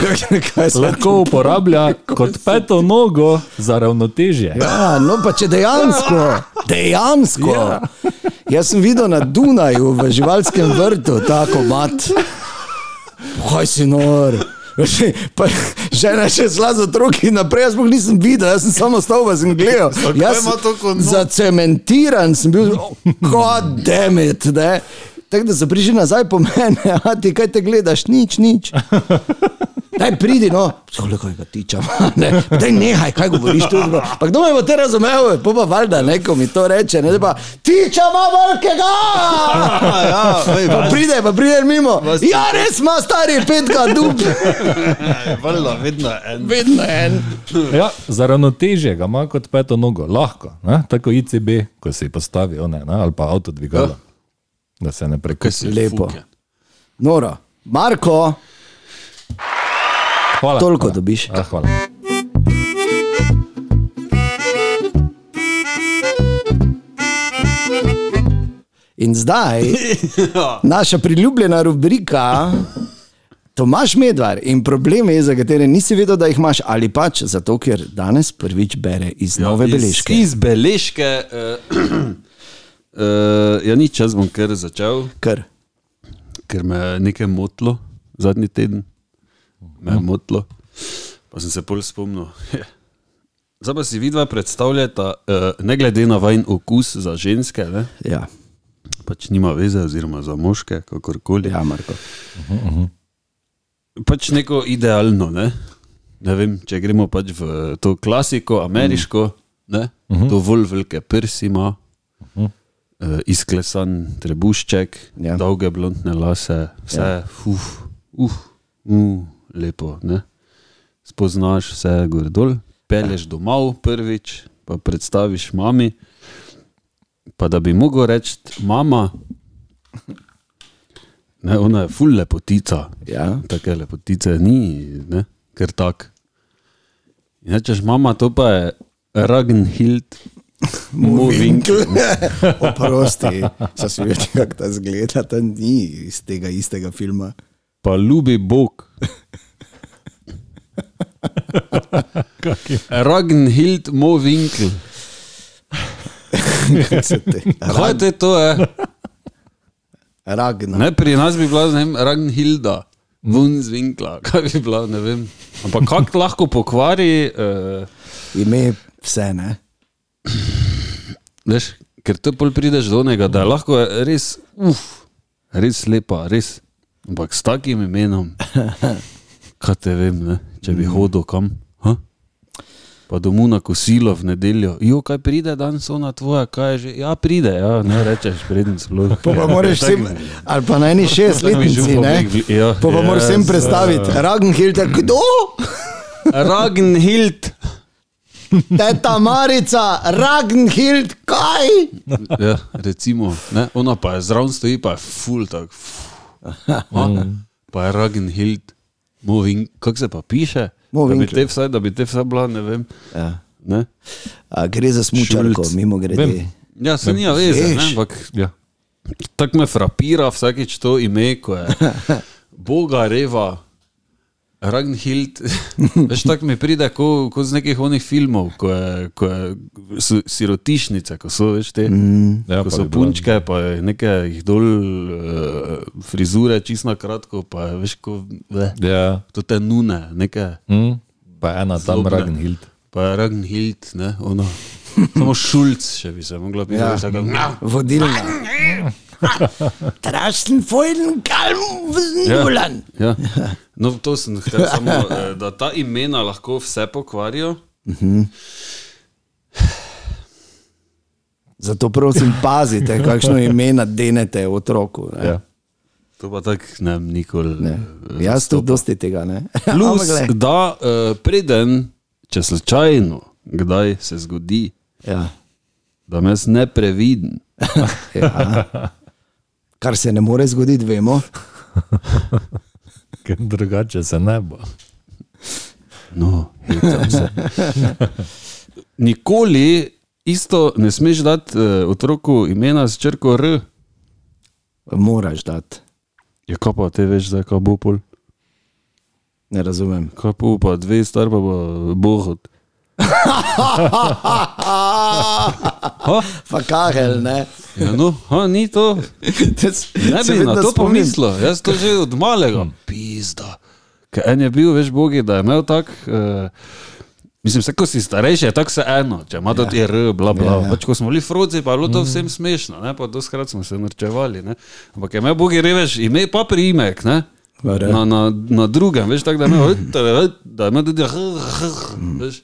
[SPEAKER 3] Kaj se
[SPEAKER 2] lahko uporablja kot peto nogo za ravnotežje.
[SPEAKER 3] Ja, no pa če dejansko, dejansko. Ja. Jaz sem videl na Dunaju v živalskem vrtu tako mat. Kaj si nor. Še- Pa, žena je še šla z otroki naprej, jaz sploh nisem videl, jaz sem samo stal v zengleju. Jaz
[SPEAKER 4] ima to kot not?
[SPEAKER 3] zacementiran sem bil, god damn it. Ne? Tako da se priži nazaj po mene, a ti kaj te gledaš, nič, nič. Daj, pridi, no, koliko ga (laughs) tiče, ne, daj, nehaj, kaj govoriš tu. bro? Pa kdo me bo te razumel, pa pa valjda neko mi to reče, ne, da pa tiče ima velikega.
[SPEAKER 4] (laughs) Ja, ej,
[SPEAKER 3] Pa pride, pa pride mimo.
[SPEAKER 4] Vas-
[SPEAKER 3] Ja, res ima stari petka
[SPEAKER 4] (laughs)
[SPEAKER 3] dup,
[SPEAKER 4] (laughs) Valjda, vedno en.
[SPEAKER 3] vedno
[SPEAKER 4] (laughs)
[SPEAKER 3] en.
[SPEAKER 2] Ja, za ravnotežje ga ima kot peto nogo, lahko, ne? tako ICB, ko si postavi one, ne? ali pa avto
[SPEAKER 3] Ja.
[SPEAKER 2] dvigala, da se ne prekusi.
[SPEAKER 3] Lepo. Noro. Marko,
[SPEAKER 2] Hvala.
[SPEAKER 3] toliko
[SPEAKER 2] hvala.
[SPEAKER 3] dobiš.
[SPEAKER 2] Ja, hvala.
[SPEAKER 3] In zdaj
[SPEAKER 4] (laughs) Ja.
[SPEAKER 3] naša priljubljena rubrika. Tomaš Medvar in probleme, za katere nisi vedel, da jih imaš, ali pač zato, ker danes prvič bere iz nove beležke.
[SPEAKER 4] Ja, Iz beležke. (clears throat) Uh, uh, ja, nič, jaz bom kar začel,
[SPEAKER 3] Kar.
[SPEAKER 4] ker me je nekaj motilo zadnji teden. Me
[SPEAKER 3] Mhm.
[SPEAKER 4] je motilo. Pa sem se bolj spomnil. Zdaj pa si vidva predstavljata, uh, ne glede na vajen okus za ženske, ne?
[SPEAKER 3] Ja,
[SPEAKER 4] pač nima veze, oziroma za moške, kakorkoli.
[SPEAKER 3] ja Marko.
[SPEAKER 4] pač neko idealno. Ne? Ne vem, če gremo pač v to klasiko, ameriško, ne? dovolj velike prsi ima, eh, izklesan trebušček,
[SPEAKER 3] Ja.
[SPEAKER 4] dolge blondne lase, vse, uf, uf, uf, lepo. Ne? Spoznaš vse gor dol, peleš domov prvič, pa predstaviš mami. Pa da bi mogel reči, mama, ne, ona je ful lepotica,
[SPEAKER 3] Ja.
[SPEAKER 4] Take lepotice ni, ne? ker tak. In rečeš, mama, to pa je Ragnhild, moving.
[SPEAKER 3] (laughs) Oprosti, sem si videl, kako ta zgleda, ta ni iz tega istega filma.
[SPEAKER 4] pa ljubi Bog. Ragnhild Movinkl.
[SPEAKER 3] Kaj se te-
[SPEAKER 4] Kaj te to je?
[SPEAKER 3] Ragna.
[SPEAKER 4] Ne, pri nas bi bila ne vem, Ragnhilda,
[SPEAKER 3] Hm.
[SPEAKER 4] vun z vinkla, (laughs) kaj bi bila, ne vem. Ampak kako lahko pokvari, uh,
[SPEAKER 3] Ime vse, ne?
[SPEAKER 4] veš, ker te pol prideš do onega, da je lahko res, uf, res lepa, res. Ampak s takim
[SPEAKER 3] (laughs)
[SPEAKER 4] imenom, kaj te vem, ne?
[SPEAKER 3] Hm.
[SPEAKER 4] če bi hodil kam. Ha? Pa domu na kosilo v nedeljo, jo kaj pride danes, ona tvoja, kaj je že. Ja, pride, ja, ne rečeš,
[SPEAKER 3] (laughs)
[SPEAKER 4] preden sploh.
[SPEAKER 3] Pa, pa moraš vsem, ali pa na eni šestletnici, ne?
[SPEAKER 4] Ja, Tako bi že v oblek- ja.
[SPEAKER 3] Pa, pa moraš vsem
[SPEAKER 4] Yes.
[SPEAKER 3] predstaviti,
[SPEAKER 4] eh.
[SPEAKER 3] Ragnhilda, kdo?
[SPEAKER 4] Ragnhild!
[SPEAKER 3] Teta Marica, Ragnhild, kaj?
[SPEAKER 4] Ja, recimo, ne? ona pa je zraven stoji, pa je full tak. fu. A? Pa je Ragnhild, Moving, kako se pa piše? Da bi
[SPEAKER 3] Movinkl.
[SPEAKER 4] te vsaj, da bi te vsaj bila, ne vem.
[SPEAKER 3] Ja.
[SPEAKER 4] Ne?
[SPEAKER 3] A, gre za smučarko,
[SPEAKER 4] Šulc.
[SPEAKER 3] mimo grede.
[SPEAKER 2] Vem.
[SPEAKER 4] Ja, se nima veze, ne,
[SPEAKER 3] Veš.
[SPEAKER 4] ampak
[SPEAKER 2] Ja.
[SPEAKER 4] tako me frapira vsakeč to ime, ko je Boga reva, Ragnhild, veš, tako mi pride, kot ko z nekih onih filmov, ko je, ko je so sirotišnice, ko so, veš, te, mm.
[SPEAKER 2] Ja,
[SPEAKER 4] ja,
[SPEAKER 2] pa
[SPEAKER 4] ko so
[SPEAKER 2] bi bila-
[SPEAKER 4] punčke, pa je nekaj jih dol, uh, frizure, čisto na kratko, pa je, veš, ko, ve,
[SPEAKER 2] Ja.
[SPEAKER 4] to te nune, nekaj,
[SPEAKER 2] Hm? Pa ena tam,
[SPEAKER 4] Zlobne.
[SPEAKER 2] Ragnhild.
[SPEAKER 4] pa je Ragnhild, ne, ono. Samo šulc, še bi se mogla biti,
[SPEAKER 3] Ja.
[SPEAKER 4] veš, tako, "Mjav."
[SPEAKER 3] Vodilna.
[SPEAKER 4] (laughs)
[SPEAKER 3] Trasten Freuden, kalm, vznulan.
[SPEAKER 4] Ja. (laughs) No, to sem hotel samo, eh, da ta imena lahko vse pokvarijo.
[SPEAKER 3] Zato prosim, pazite, kakšno ime denete otroku. ne.
[SPEAKER 2] Ja.
[SPEAKER 4] To pa tako ne, bom nikoli.
[SPEAKER 3] Ne.
[SPEAKER 4] eh,
[SPEAKER 3] Jaz tudi dosti tega ne. (laughs)
[SPEAKER 4] Plus,
[SPEAKER 3] Ampak glej.
[SPEAKER 4] da uh, preden, če slučajno, kdaj se zgodi,
[SPEAKER 3] ja.
[SPEAKER 4] da me jaz nepreviden,
[SPEAKER 3] Ja. Kar se ne more zgoditi, vemo.
[SPEAKER 2] Ker drugače se ne bo.
[SPEAKER 4] no, hecam
[SPEAKER 3] (laughs)
[SPEAKER 4] se. Nikoli isto ne smeš dati uh, otroku imena s črko R.
[SPEAKER 3] Moraš dati.
[SPEAKER 4] Ja, kaj pa te veš, zdaj kaj bo pol,
[SPEAKER 3] Ne
[SPEAKER 4] (laughs)
[SPEAKER 3] razumem.
[SPEAKER 4] kaj bo pa dve star pa bo bohot. Ha?
[SPEAKER 3] Fakahel, ne.
[SPEAKER 4] Ja, no, ha, ni to. Ne bi na to pomislil, jaz to že od malega. Hmm. Pizda. Ker en je bil, veš, bogi, da je imel tak. Uh, Mislim, vse, ko si starejši, je tako se eno, če ima tudi ja. R, bla, bla. Ja, Hmm. ja. Pač, ko smo bili frodzi, pa je bilo to vsem smešno, ne, pa doskrat smo se norčevali, ne. Ampak je imel bogi reveš, ime pa priimek, ne.
[SPEAKER 3] Vere.
[SPEAKER 4] Na, na, na drugem, veš, tako da je (clears throat) imel, da, da ima tudi, hr, hr, veš.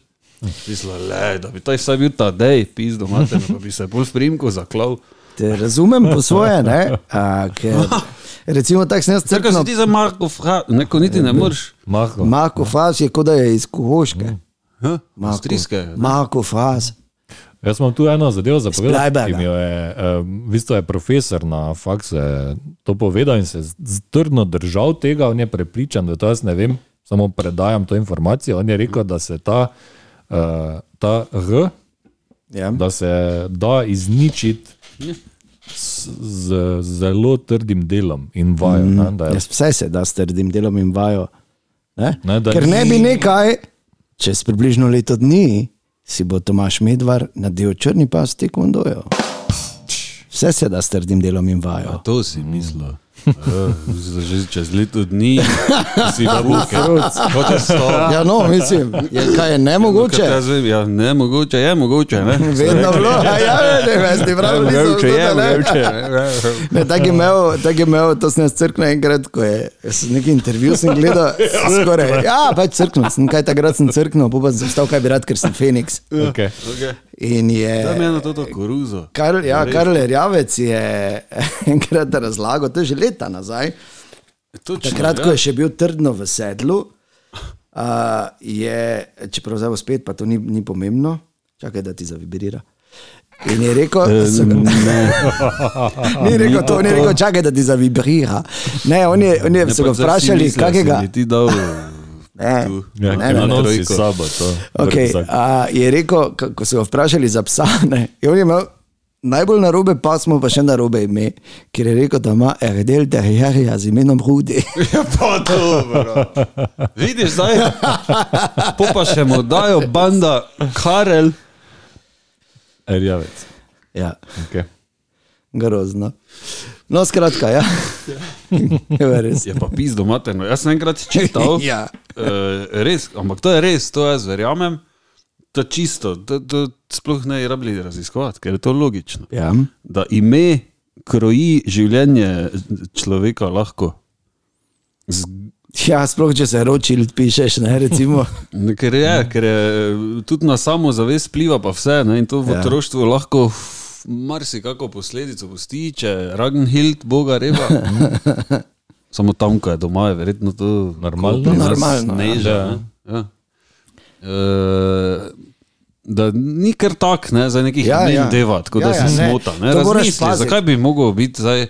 [SPEAKER 4] Mislim, le, da bi taj vsaj bil ta dej, pizdo, mater, pa bi se bolj v primku zaklal.
[SPEAKER 3] Te razumem po svoje, ne. A,
[SPEAKER 4] (laughs)
[SPEAKER 3] ker, recimo tako sem jaz
[SPEAKER 4] Tako si
[SPEAKER 3] crkno.
[SPEAKER 4] ti za Marko, fra, neko niti
[SPEAKER 3] Ja,
[SPEAKER 4] ne moreš.
[SPEAKER 2] Mahlo.
[SPEAKER 3] Mako faz je, kot da je iz Kohoške.
[SPEAKER 4] Ha?
[SPEAKER 3] Mako-
[SPEAKER 4] Mm. Avstrijske.
[SPEAKER 3] Mako faz.
[SPEAKER 2] Jaz imam tu eno zadevo za
[SPEAKER 3] Freiburga.
[SPEAKER 2] povedati. ki mi jo Je, um, v bistvu je profesor na faksu je to povedal in se z- z- trdno držal tega, on je prepričan, da to jaz ne vem, samo predajam to informacijo. On je rekel, da se ta, uh, ta R,
[SPEAKER 3] Ja.
[SPEAKER 2] da se da izničiti s- z zelo trdim delom in vajo. Ne, da je,
[SPEAKER 3] Mm, Jaz vse se da s trdim delom in vajo. Ne?
[SPEAKER 2] Ne, da
[SPEAKER 3] Ker ne
[SPEAKER 2] ni-
[SPEAKER 3] bi nekaj, čez približno leto dni si bo Tomaš Medvar nadel črni pas tekondojo. Vse se da s trdim delom in vajo.
[SPEAKER 4] To si mislil. Uh, že čez leto dni si v
[SPEAKER 3] (laughs)
[SPEAKER 4] roke. Kot je stalo.
[SPEAKER 3] Ja, no, mislim, je, kaj je nemogoče.
[SPEAKER 4] Ja, ne mogoče, je mogoče.
[SPEAKER 3] (laughs)
[SPEAKER 4] Ne?
[SPEAKER 3] Vedno bilo, a ja, ne, ne, ne, pravi,
[SPEAKER 4] Je mogoče, je
[SPEAKER 3] ne,
[SPEAKER 4] mogoče.
[SPEAKER 3] ne. (laughs)
[SPEAKER 4] ne.
[SPEAKER 3] Ne, tako je imel, tak je imel, to sem jaz crknil enkrat, ko je sem neki intervju sem gledal. Skoraj, ja, pač crknil sem, kaj takrat sem crknil, pa sem stal, kaj bi rad, ker sem Feniks.
[SPEAKER 2] okay.
[SPEAKER 4] Okay.
[SPEAKER 3] In
[SPEAKER 4] Tam
[SPEAKER 3] je
[SPEAKER 4] je na to to koruzo.
[SPEAKER 3] Karl, ja, Karl Rjavec je (laughs) enkrat razlagal, to je že leta nazaj.
[SPEAKER 4] Točno,
[SPEAKER 3] E, Takrat,
[SPEAKER 4] ja.
[SPEAKER 3] ko je še bil trdno v sedlu, uh, je, čeprav zdaj bo spet, pa to ni, ni pomembno, čakaj, da ti zavibrira. In je rekel, (laughs) da ni rekel to, Eh, ni rekel, čakaj, da ti zavibrira. Ne, on je, on je, so ga
[SPEAKER 4] pač zdaj si
[SPEAKER 3] vprašali,
[SPEAKER 4] mislil,
[SPEAKER 3] kakega.
[SPEAKER 4] si mi Ti dal.
[SPEAKER 3] (laughs) Ne.
[SPEAKER 4] tu.
[SPEAKER 2] ja, ne,
[SPEAKER 3] Ne, ne,
[SPEAKER 2] ne,
[SPEAKER 3] ne.
[SPEAKER 2] nosi s sabo to.
[SPEAKER 3] Okay,
[SPEAKER 2] vrtcak.
[SPEAKER 3] a, je rekel, ka- ko so ga vprašali za psa, ne, je on je imel najbolj narobe pasmo, pa še narobe ime, ker je rekel, da ima Erdel Terrierja z imenom Rudi.
[SPEAKER 4] Ja, pa dobro. Vidiš, zdaj.
[SPEAKER 3] (laughs)
[SPEAKER 4] Po pa še mu dajo banda Karel.
[SPEAKER 2] Er, Rjavec.
[SPEAKER 3] (laughs) ja,
[SPEAKER 2] Okay.
[SPEAKER 3] grozno. No, skratka, ja. (laughs) ja. Res.
[SPEAKER 4] Je pa pizdo materno. no, Jaz sem enkrat
[SPEAKER 3] (laughs)
[SPEAKER 4] čital.
[SPEAKER 3] Ja.
[SPEAKER 4] Eh, res, ampak to je res, to jaz verjamem. To je čisto, to, to sploh ne rabi raziskovati, ker je to logično.
[SPEAKER 3] Ja.
[SPEAKER 4] Da ime kroji življenje človeka lahko. Z,
[SPEAKER 3] ja, sploh če se ročil, pišeš, ne (laughs) recimo.
[SPEAKER 4] ker je,
[SPEAKER 3] Ja.
[SPEAKER 4] ker je tudi na samozavest vpliva, pa vse. Ne, in to v
[SPEAKER 3] Ja.
[SPEAKER 4] otroštvu lahko f- marsikako posledico pusti, če Ragnhild, boga
[SPEAKER 3] (laughs)
[SPEAKER 4] reba. Samo tam, ko je doma, je verjetno to
[SPEAKER 2] Normalno.
[SPEAKER 4] ko pri nas
[SPEAKER 3] Normalno, ja.
[SPEAKER 4] Neža,
[SPEAKER 2] Ja.
[SPEAKER 4] ja. Ja. Uh, Da ni kar tak, ne, za nekih
[SPEAKER 3] Ja,
[SPEAKER 4] ja, imen
[SPEAKER 3] ja.
[SPEAKER 4] ja. deva, tako
[SPEAKER 3] Ja,
[SPEAKER 4] ja, da
[SPEAKER 3] ja,
[SPEAKER 4] se
[SPEAKER 3] ne.
[SPEAKER 4] smota. Ne,
[SPEAKER 3] To moraš
[SPEAKER 4] razmisli,
[SPEAKER 3] paziti.
[SPEAKER 4] zakaj bi mogel biti zdaj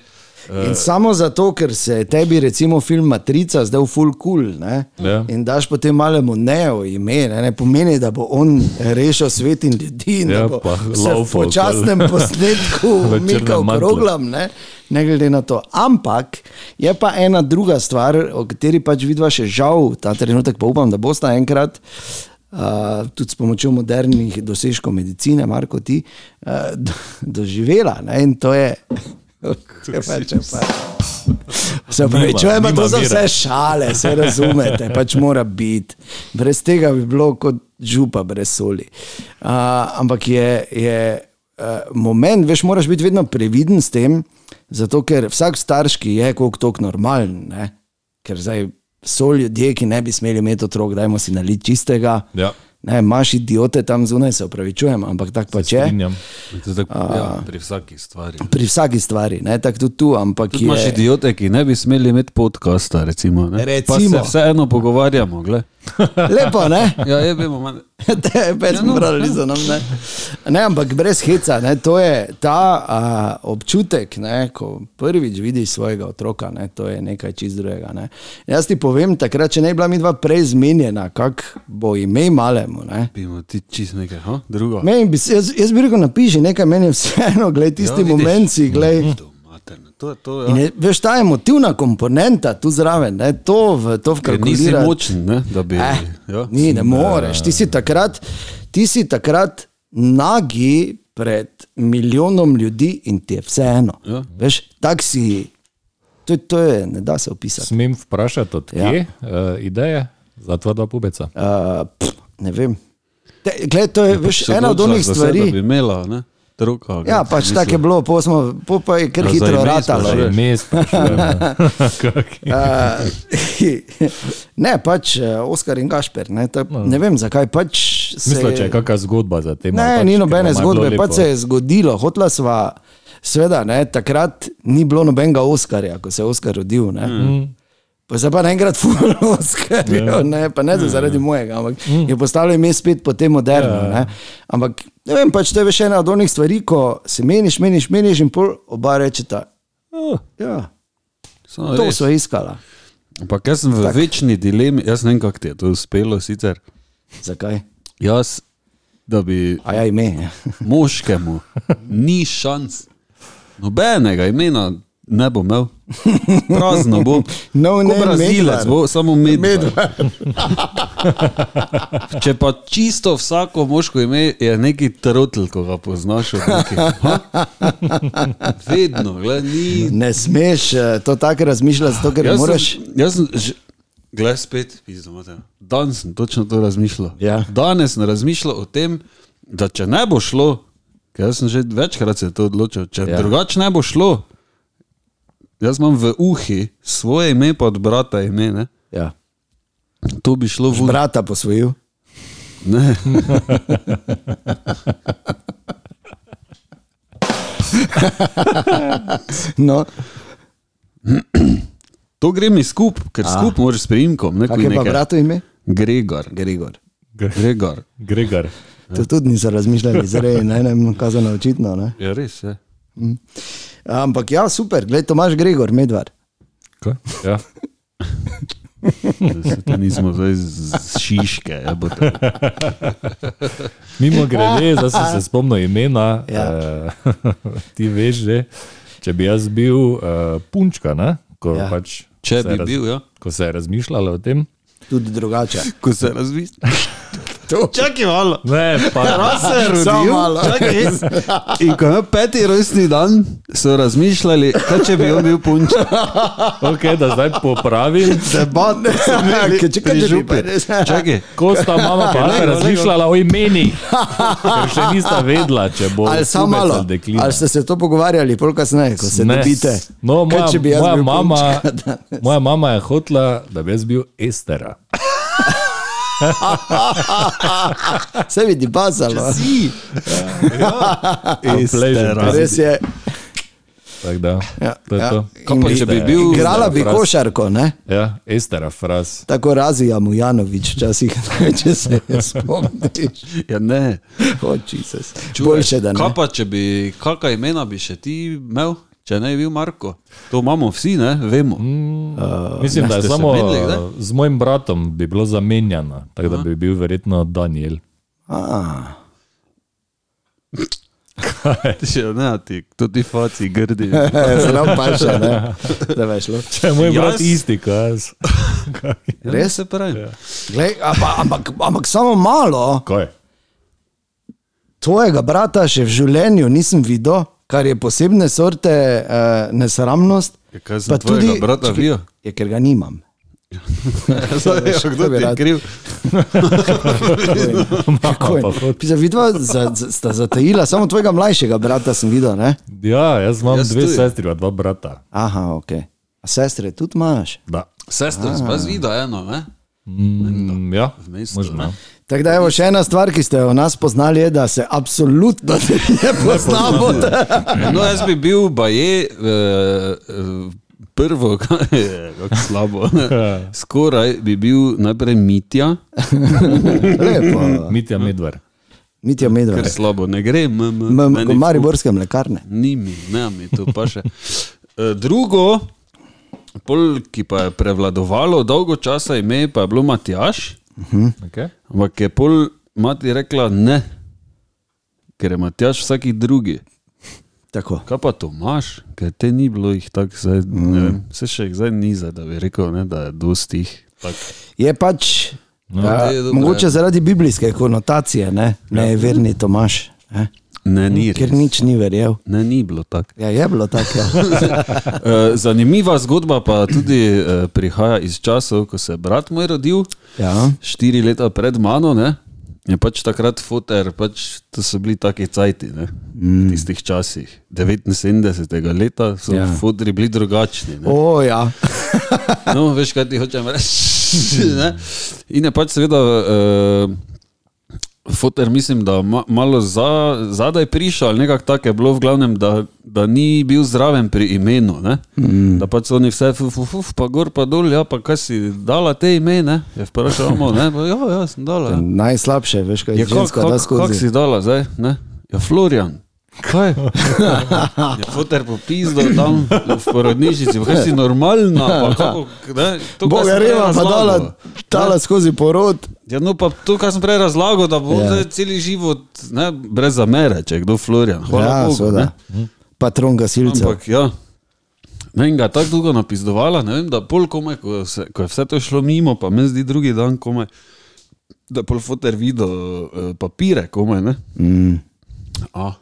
[SPEAKER 3] In samo zato, ker se je tebi, recimo, film Matrica zdaj v full cool. Ne?
[SPEAKER 2] Ja.
[SPEAKER 3] In daš potem malemu neo ime, ne, ne pomeni, da bo on rešil svet in ljudi. in da
[SPEAKER 2] Ja,
[SPEAKER 3] bo
[SPEAKER 2] pa
[SPEAKER 3] se v
[SPEAKER 2] laufal
[SPEAKER 3] počasnem
[SPEAKER 2] okoli.
[SPEAKER 3] posnetku
[SPEAKER 2] (laughs) V črnem
[SPEAKER 3] umikal
[SPEAKER 2] mantlu.
[SPEAKER 3] kroglam, ne? ne glede na to. Ampak je pa ena druga stvar, o kateri pač vidva še žal ta trenutek, pa upam, da bosta enkrat. Uh, tudi s pomočjo modernih dosežkov medicine, Marko, ti uh, do, doživela. Ne? In to
[SPEAKER 2] (laughs)
[SPEAKER 3] je, (laughs) če rečem, se pravi,
[SPEAKER 2] Nima-
[SPEAKER 3] če ima
[SPEAKER 2] nima
[SPEAKER 3] to za
[SPEAKER 2] vire.
[SPEAKER 3] vse šale, se razumete, pač mora biti. Brez tega bi bilo kot župa, brez soli. Uh, ampak je, je uh, moment, veš, moraš biti vedno previden s tem, zato ker vsak starš, ki je koliko tok normalen, ne? ker zdaj so ljudje, ki ne bi smeli imeti otrok, dajmo si naliti čistega.
[SPEAKER 2] Ja.
[SPEAKER 3] Ne, imaš idiote tam zunaj, se upravičujem, ampak tako pač je.
[SPEAKER 2] Strinjam.
[SPEAKER 4] Tako, ja, pri vsaki stvari.
[SPEAKER 3] Pri vsaki stvari, ne tako tudi tu, ampak
[SPEAKER 4] Tudi imaš
[SPEAKER 3] je.
[SPEAKER 4] idiote, ki ne bi smeli imeti podcasta, recimo. Ne? Pa se
[SPEAKER 3] Recimo.
[SPEAKER 4] vseeno pogovarjamo. glej.
[SPEAKER 3] Lepo, ne?
[SPEAKER 4] Ja, je, vemo, manj.
[SPEAKER 3] (laughs) Te je več morali za nami. no, Ne? ne, ampak brez heca, ne? to je ta a, občutek, ne? ko prvič vidiš svojega otroka, ne? to je nekaj čist drugega. Ne? Jaz ti povem, takrat, če ne bi bila mi dva prej zmenjena, kak bo ime malemu. Ne?
[SPEAKER 4] bi mu ti čist nekaj, ha? drugo.
[SPEAKER 3] Meni Bi, se- jaz, jaz bi rekel, napiši nekaj, meni je vseeno, glej, tisti ja,
[SPEAKER 4] vidiš. Mhm.
[SPEAKER 3] moment si, glej.
[SPEAKER 4] To, materno, to, je to, ja.
[SPEAKER 3] In je, veš, ta emotivna komponenta tu zraven, ne? to, v- to
[SPEAKER 4] Ker nisi
[SPEAKER 3] vkalkulira.
[SPEAKER 4] močen, ne? da bi.
[SPEAKER 3] Eh,
[SPEAKER 4] ja.
[SPEAKER 3] ni, ne moreš. Ti si takrat, ti si takrat nagi pred milijonom ljudi in ti je vseeno.
[SPEAKER 4] Ja.
[SPEAKER 3] Veš, tak si. To, to je, ne da se opisati.
[SPEAKER 2] Smem vprašati, odkje ja. uh, ideje za tvoja dva pubeca?
[SPEAKER 3] Uh, pff, ne vem. Te, gled, to je, je veš,
[SPEAKER 4] Ja, pač Se
[SPEAKER 3] ena od
[SPEAKER 4] odločila
[SPEAKER 3] onih
[SPEAKER 4] za
[SPEAKER 3] stvari.
[SPEAKER 4] Sebe, da bi imela, ne? Drugo, glej,
[SPEAKER 3] Ja, pač
[SPEAKER 4] mislim.
[SPEAKER 3] tako je bilo, pol smo- pol pa je kar
[SPEAKER 4] Ja, za ime
[SPEAKER 3] hitro
[SPEAKER 4] smo
[SPEAKER 3] ratalo.
[SPEAKER 4] že.
[SPEAKER 2] Za ime
[SPEAKER 3] (laughs)
[SPEAKER 2] sprašujem. ja. Kak-
[SPEAKER 3] Uh, (laughs) ne, pač eh, Oskar in Gašper. Ne, ta,
[SPEAKER 4] No.
[SPEAKER 3] ne vem zakaj. Pač se,
[SPEAKER 2] Mislim, če je kakšna zgodba za tem. ali
[SPEAKER 3] Ne,
[SPEAKER 2] pač,
[SPEAKER 3] pač, ni
[SPEAKER 2] ker
[SPEAKER 3] nobene
[SPEAKER 2] nama je bilo
[SPEAKER 3] zgodbe,
[SPEAKER 2] lepo.
[SPEAKER 3] pač se je zgodilo. Hotla sva, seveda, ne, takrat ni bilo nobenega Oskarja, ko se je Oskar rodil. Mm. Pa se pa naenkrat fulano (laughs) Oskarjev, ne, pa ne zaradi mojega, ampak mm. Ja. je postalo ime spet potem moderno. Ne. Ampak ne vem, pač to je še ena od onih stvari, ko se meniš, meniš, meniš in pol oba rečeta.
[SPEAKER 2] Oh,
[SPEAKER 3] Ja,
[SPEAKER 4] Samo
[SPEAKER 3] to
[SPEAKER 4] No, res.
[SPEAKER 3] so iskala.
[SPEAKER 4] Ampak jaz sem v tak. večni dilemi, jaz ne vem, kako ti je to uspelo sicer.
[SPEAKER 3] Zakaj?
[SPEAKER 4] Jaz, da bi
[SPEAKER 3] A ja, ime.
[SPEAKER 4] moškemu ni šans, nobenega imena ne bo imel, prazno bo.
[SPEAKER 3] (laughs) No,
[SPEAKER 4] Ko
[SPEAKER 3] ne,
[SPEAKER 4] Brazilec
[SPEAKER 3] Medvar.
[SPEAKER 4] bo samo medvedek. Če pa čisto vsako moško ime je neki trotl, ko ga poznaš, od nekih, ha? vedno, gled, ni
[SPEAKER 3] Ne smeš eh, to tako razmišljati, zato ker ne
[SPEAKER 4] Jaz sem-
[SPEAKER 3] moreš.
[SPEAKER 4] Jaz sem že. Glej spet, pizdom. Danes sem točno to razmišljal.
[SPEAKER 3] Ja.
[SPEAKER 4] Danes sem razmišljal o tem, da če ne bo šlo, ker jaz sem že večkrat se to odločil, če ja. drugače ne bo šlo, jaz imam v uhi svoje ime, pa od brata ime. Ne?
[SPEAKER 3] Ja.
[SPEAKER 4] To bi šlo v
[SPEAKER 3] Brata posvojil.
[SPEAKER 4] Ne.
[SPEAKER 3] No.
[SPEAKER 4] To gre mi skup, ker skup moraš s primkom. Ne, ko
[SPEAKER 3] Kaj je pa
[SPEAKER 4] nekaj-
[SPEAKER 3] bratu ime?
[SPEAKER 4] Gregor.
[SPEAKER 3] Grigor.
[SPEAKER 2] Gre-
[SPEAKER 4] Gregor.
[SPEAKER 2] Gregor.
[SPEAKER 3] To tudi niso razmišljali, zdaj ne vem, kazano očitno. Ne?
[SPEAKER 4] Ja, res je.
[SPEAKER 3] Ampak ja, super, gledaj, Tomaš Gregor, medvar.
[SPEAKER 2] Kaj? Ja.
[SPEAKER 4] Da se to nismo zdaj z z šiške. ja, jebote.
[SPEAKER 2] Mimo grede, zdaj
[SPEAKER 3] (laughs)
[SPEAKER 2] sem se spomnil imena.
[SPEAKER 3] Ja.
[SPEAKER 2] Ja. Uh, (laughs) ti veš že, če bi jaz bil uh, punčka, ne? ko
[SPEAKER 3] Ja.
[SPEAKER 2] ja. pač.
[SPEAKER 4] Če
[SPEAKER 2] se
[SPEAKER 4] bi
[SPEAKER 2] je raz-
[SPEAKER 4] bil, ja.
[SPEAKER 2] Ko se je razmišljalo o tem.
[SPEAKER 3] Tudi drugače.
[SPEAKER 4] ko se razvisi.
[SPEAKER 3] (laughs)
[SPEAKER 4] Čakaj malo.
[SPEAKER 2] Ne, pa,
[SPEAKER 4] Se
[SPEAKER 2] (laughs)
[SPEAKER 4] je
[SPEAKER 3] Samo
[SPEAKER 4] rodil,
[SPEAKER 3] malo.
[SPEAKER 4] čakaj, res. in ko je imel peti rojstni dan, so razmišljali, kaj če bi on bil
[SPEAKER 3] (laughs)
[SPEAKER 4] punček.
[SPEAKER 2] okay, da zdaj popravim.
[SPEAKER 3] Debatne,
[SPEAKER 4] Pri
[SPEAKER 3] če Ja, kaj že
[SPEAKER 4] župi.
[SPEAKER 3] (laughs)
[SPEAKER 4] Čakaj,
[SPEAKER 2] Ko sta mama pa Ana razmišljala o (laughs) imenih, ker še nista vedla, če bo
[SPEAKER 3] Ali samo
[SPEAKER 2] pubec
[SPEAKER 3] malo,
[SPEAKER 2] ali deklina.
[SPEAKER 3] ali ste se to pogovarjali, pol kasneje, ko se ne vidite.
[SPEAKER 2] No, moja,
[SPEAKER 3] če bi jaz
[SPEAKER 2] moja,
[SPEAKER 3] bil
[SPEAKER 2] mama,
[SPEAKER 3] punčka danes?
[SPEAKER 2] moja mama je hotla, da bi jaz bil Estera.
[SPEAKER 3] Se vidi, bazalo.
[SPEAKER 4] si.
[SPEAKER 2] Estera.
[SPEAKER 3] Res je.
[SPEAKER 2] Tako da,
[SPEAKER 3] Ja,
[SPEAKER 2] to je
[SPEAKER 3] ja.
[SPEAKER 2] to.
[SPEAKER 4] Kaj pa, če bi bil-
[SPEAKER 3] Igrala bi
[SPEAKER 2] Fras.
[SPEAKER 3] košarko, ne?
[SPEAKER 2] Ja, Estera, fras.
[SPEAKER 3] Tako razija Mujanovič, včasih, (laughs) če se je spomniš.
[SPEAKER 4] Ja, ne.
[SPEAKER 3] Oči se. Boljše, da ne.
[SPEAKER 4] Kaj pa, če bi, kakšna imena bi še ti imel? Če ne bi bil Marko, to imamo vsi, ne? vemo.
[SPEAKER 3] Mm.
[SPEAKER 2] Uh, Mislim, da je
[SPEAKER 4] ste se
[SPEAKER 2] samo
[SPEAKER 4] videli kdaj?
[SPEAKER 2] uh, z mojim bratom bi bilo zamenjano, tako da bi bil verjetno
[SPEAKER 3] (laughs)
[SPEAKER 2] Daniel.
[SPEAKER 3] A,
[SPEAKER 4] (laughs)
[SPEAKER 3] (laughs)
[SPEAKER 4] Še ne, ti, tudi faci
[SPEAKER 3] (laughs)
[SPEAKER 4] grdi.
[SPEAKER 3] Ja, Zelo paše, ne? da veš. lo.
[SPEAKER 2] Če je moj
[SPEAKER 4] Jaz?
[SPEAKER 2] brat isti, kot jaz.
[SPEAKER 4] Res Ja, se
[SPEAKER 3] Ja.
[SPEAKER 4] pravi.
[SPEAKER 3] Glej, ampak, ampak, ampak samo malo. (laughs)
[SPEAKER 2] Kaj?
[SPEAKER 3] Tvojega brata še v življenju nisem videl, kar je posebne sorte eh, nesramnost.
[SPEAKER 4] Ja, kaj sem tvojega brata
[SPEAKER 3] čakaj, (laughs)
[SPEAKER 4] (laughs) videl?
[SPEAKER 3] Je, ker ga (laughs) nimam.
[SPEAKER 4] Zdaj,
[SPEAKER 3] veš,
[SPEAKER 4] ja,
[SPEAKER 3] to
[SPEAKER 4] kdo
[SPEAKER 3] bi
[SPEAKER 4] ti je
[SPEAKER 3] rad.
[SPEAKER 4] kriv?
[SPEAKER 3] Kako je? Pisa, vidva za, za, sta zatajila, samo tvojega mlajšega brata sem videl. Ne?
[SPEAKER 2] Ja, jaz imam
[SPEAKER 4] Jaz
[SPEAKER 2] jaz dve
[SPEAKER 4] tudi.
[SPEAKER 2] sestri, pa dva brata.
[SPEAKER 3] Aha, ok. A sestre tudi imaš.
[SPEAKER 2] Da.
[SPEAKER 4] Sestra, spaz videl eno, ne?
[SPEAKER 2] Mm, ja,
[SPEAKER 4] Vmes,
[SPEAKER 2] možno.
[SPEAKER 4] ne?
[SPEAKER 3] Tako da je še ena stvar, ki ste jo o nas poznali, je, da se absolutno ne poznamo.
[SPEAKER 4] (laughs) No, jaz bi bil baje eh, eh, prvo, (laughs) kaj je kako slabo. Ne? Skoraj bi bil najprej Mitja,
[SPEAKER 3] Lepo.
[SPEAKER 2] Mitja Medvar.
[SPEAKER 3] Mitja
[SPEAKER 4] ker
[SPEAKER 3] Medved.
[SPEAKER 4] slabo ne gre, mm, meni
[SPEAKER 3] Kot
[SPEAKER 4] fuk.
[SPEAKER 3] mariborske mlekarne.
[SPEAKER 4] Ni mi, ne mi to pa še. Eh, Drugo, pol, ki pa je prevladovalo dolgo časa, ime pa je bilo Matjaš,
[SPEAKER 2] Okay.
[SPEAKER 4] ampak je pol mati rekla ne, ker je Matjaš vsaki drugi.
[SPEAKER 3] Tako.
[SPEAKER 4] Kaj pa Tomaš, ker te ni bilo jih tako, zdaj, ne vem, se še jih zdaj ni, zdaj, da bi rekel, ne, da je dosti jih. tak.
[SPEAKER 3] Je pač, no,
[SPEAKER 4] to
[SPEAKER 3] a,
[SPEAKER 4] je Ja.
[SPEAKER 3] je
[SPEAKER 4] dobro,
[SPEAKER 3] mogoče
[SPEAKER 4] ja.
[SPEAKER 3] zaradi biblijske konotacije, ne, ne je verni Tomaš, ne?
[SPEAKER 4] Ne, ni
[SPEAKER 3] ker
[SPEAKER 4] res.
[SPEAKER 3] nič ni verjel.
[SPEAKER 4] Ne, ni bilo (laughs) tako.
[SPEAKER 3] Ja, je bilo tako. Ja.
[SPEAKER 4] Eh, Zanimiva zgodba pa tudi eh, prihaja iz časov, ko se je brat moj rodil,
[SPEAKER 3] Ja.
[SPEAKER 4] štiri leta pred mano. Ne? Je pač takrat foter, pač to so bili taki cajti ne, v tistih časih. 79. leta so Mm. ja.
[SPEAKER 3] Ja.
[SPEAKER 4] fotri bili drugačni. Ne.
[SPEAKER 3] O, ja.
[SPEAKER 4] (laughs) No, veš, kaj ti hočem reči. (laughs) ne? In je pač seveda, uh, fotor mislim, da ma, malo za, zadaj prišel, ali nekako tako je bilo, v glavnem, da, da ni bil zraven pri imenu. Mm. Da pač so oni vse, fuf, fuf, fuf, pa gor, pa dol, ja, pa kaj si dala te ime, ne? Je vprašal, amo, ne? Pa, ja, ja, sem dala. Ja.
[SPEAKER 3] Najslabše, veš, kaj
[SPEAKER 4] Ja,
[SPEAKER 3] je
[SPEAKER 4] kako
[SPEAKER 3] ženska, da
[SPEAKER 4] kak, kak
[SPEAKER 3] skozi.
[SPEAKER 4] si dala zdaj? Ne? Ja, Florian.
[SPEAKER 3] (laughs)
[SPEAKER 4] Kaj? Ja, Je fotor popizdal tam v porodnišnici, pa kaj si normalna? Pa kako, ne? to, kar
[SPEAKER 3] Bog
[SPEAKER 4] sem
[SPEAKER 3] je
[SPEAKER 4] prej
[SPEAKER 3] rekel, pa
[SPEAKER 4] razlagal.
[SPEAKER 3] dala, dala skozi porod.
[SPEAKER 4] Ja, no pa to, kar sem prej razlagal, da bo
[SPEAKER 3] Ja.
[SPEAKER 4] ja. celi život ne, brez zamere, če je kdo Florian. Hvala
[SPEAKER 3] Ja,
[SPEAKER 4] Bogu, ne.
[SPEAKER 3] seveda. Patron gasilcev.
[SPEAKER 4] Ampak ja. Ne, in ga je tako dolgo napistovala, ne vem, da pol komaj, ko, se, ko je vse to šlo mimo, pa meni zdi drugi dan komaj, da je pol fotor videl eh, papire, komaj, ne.
[SPEAKER 3] Mm,
[SPEAKER 4] A,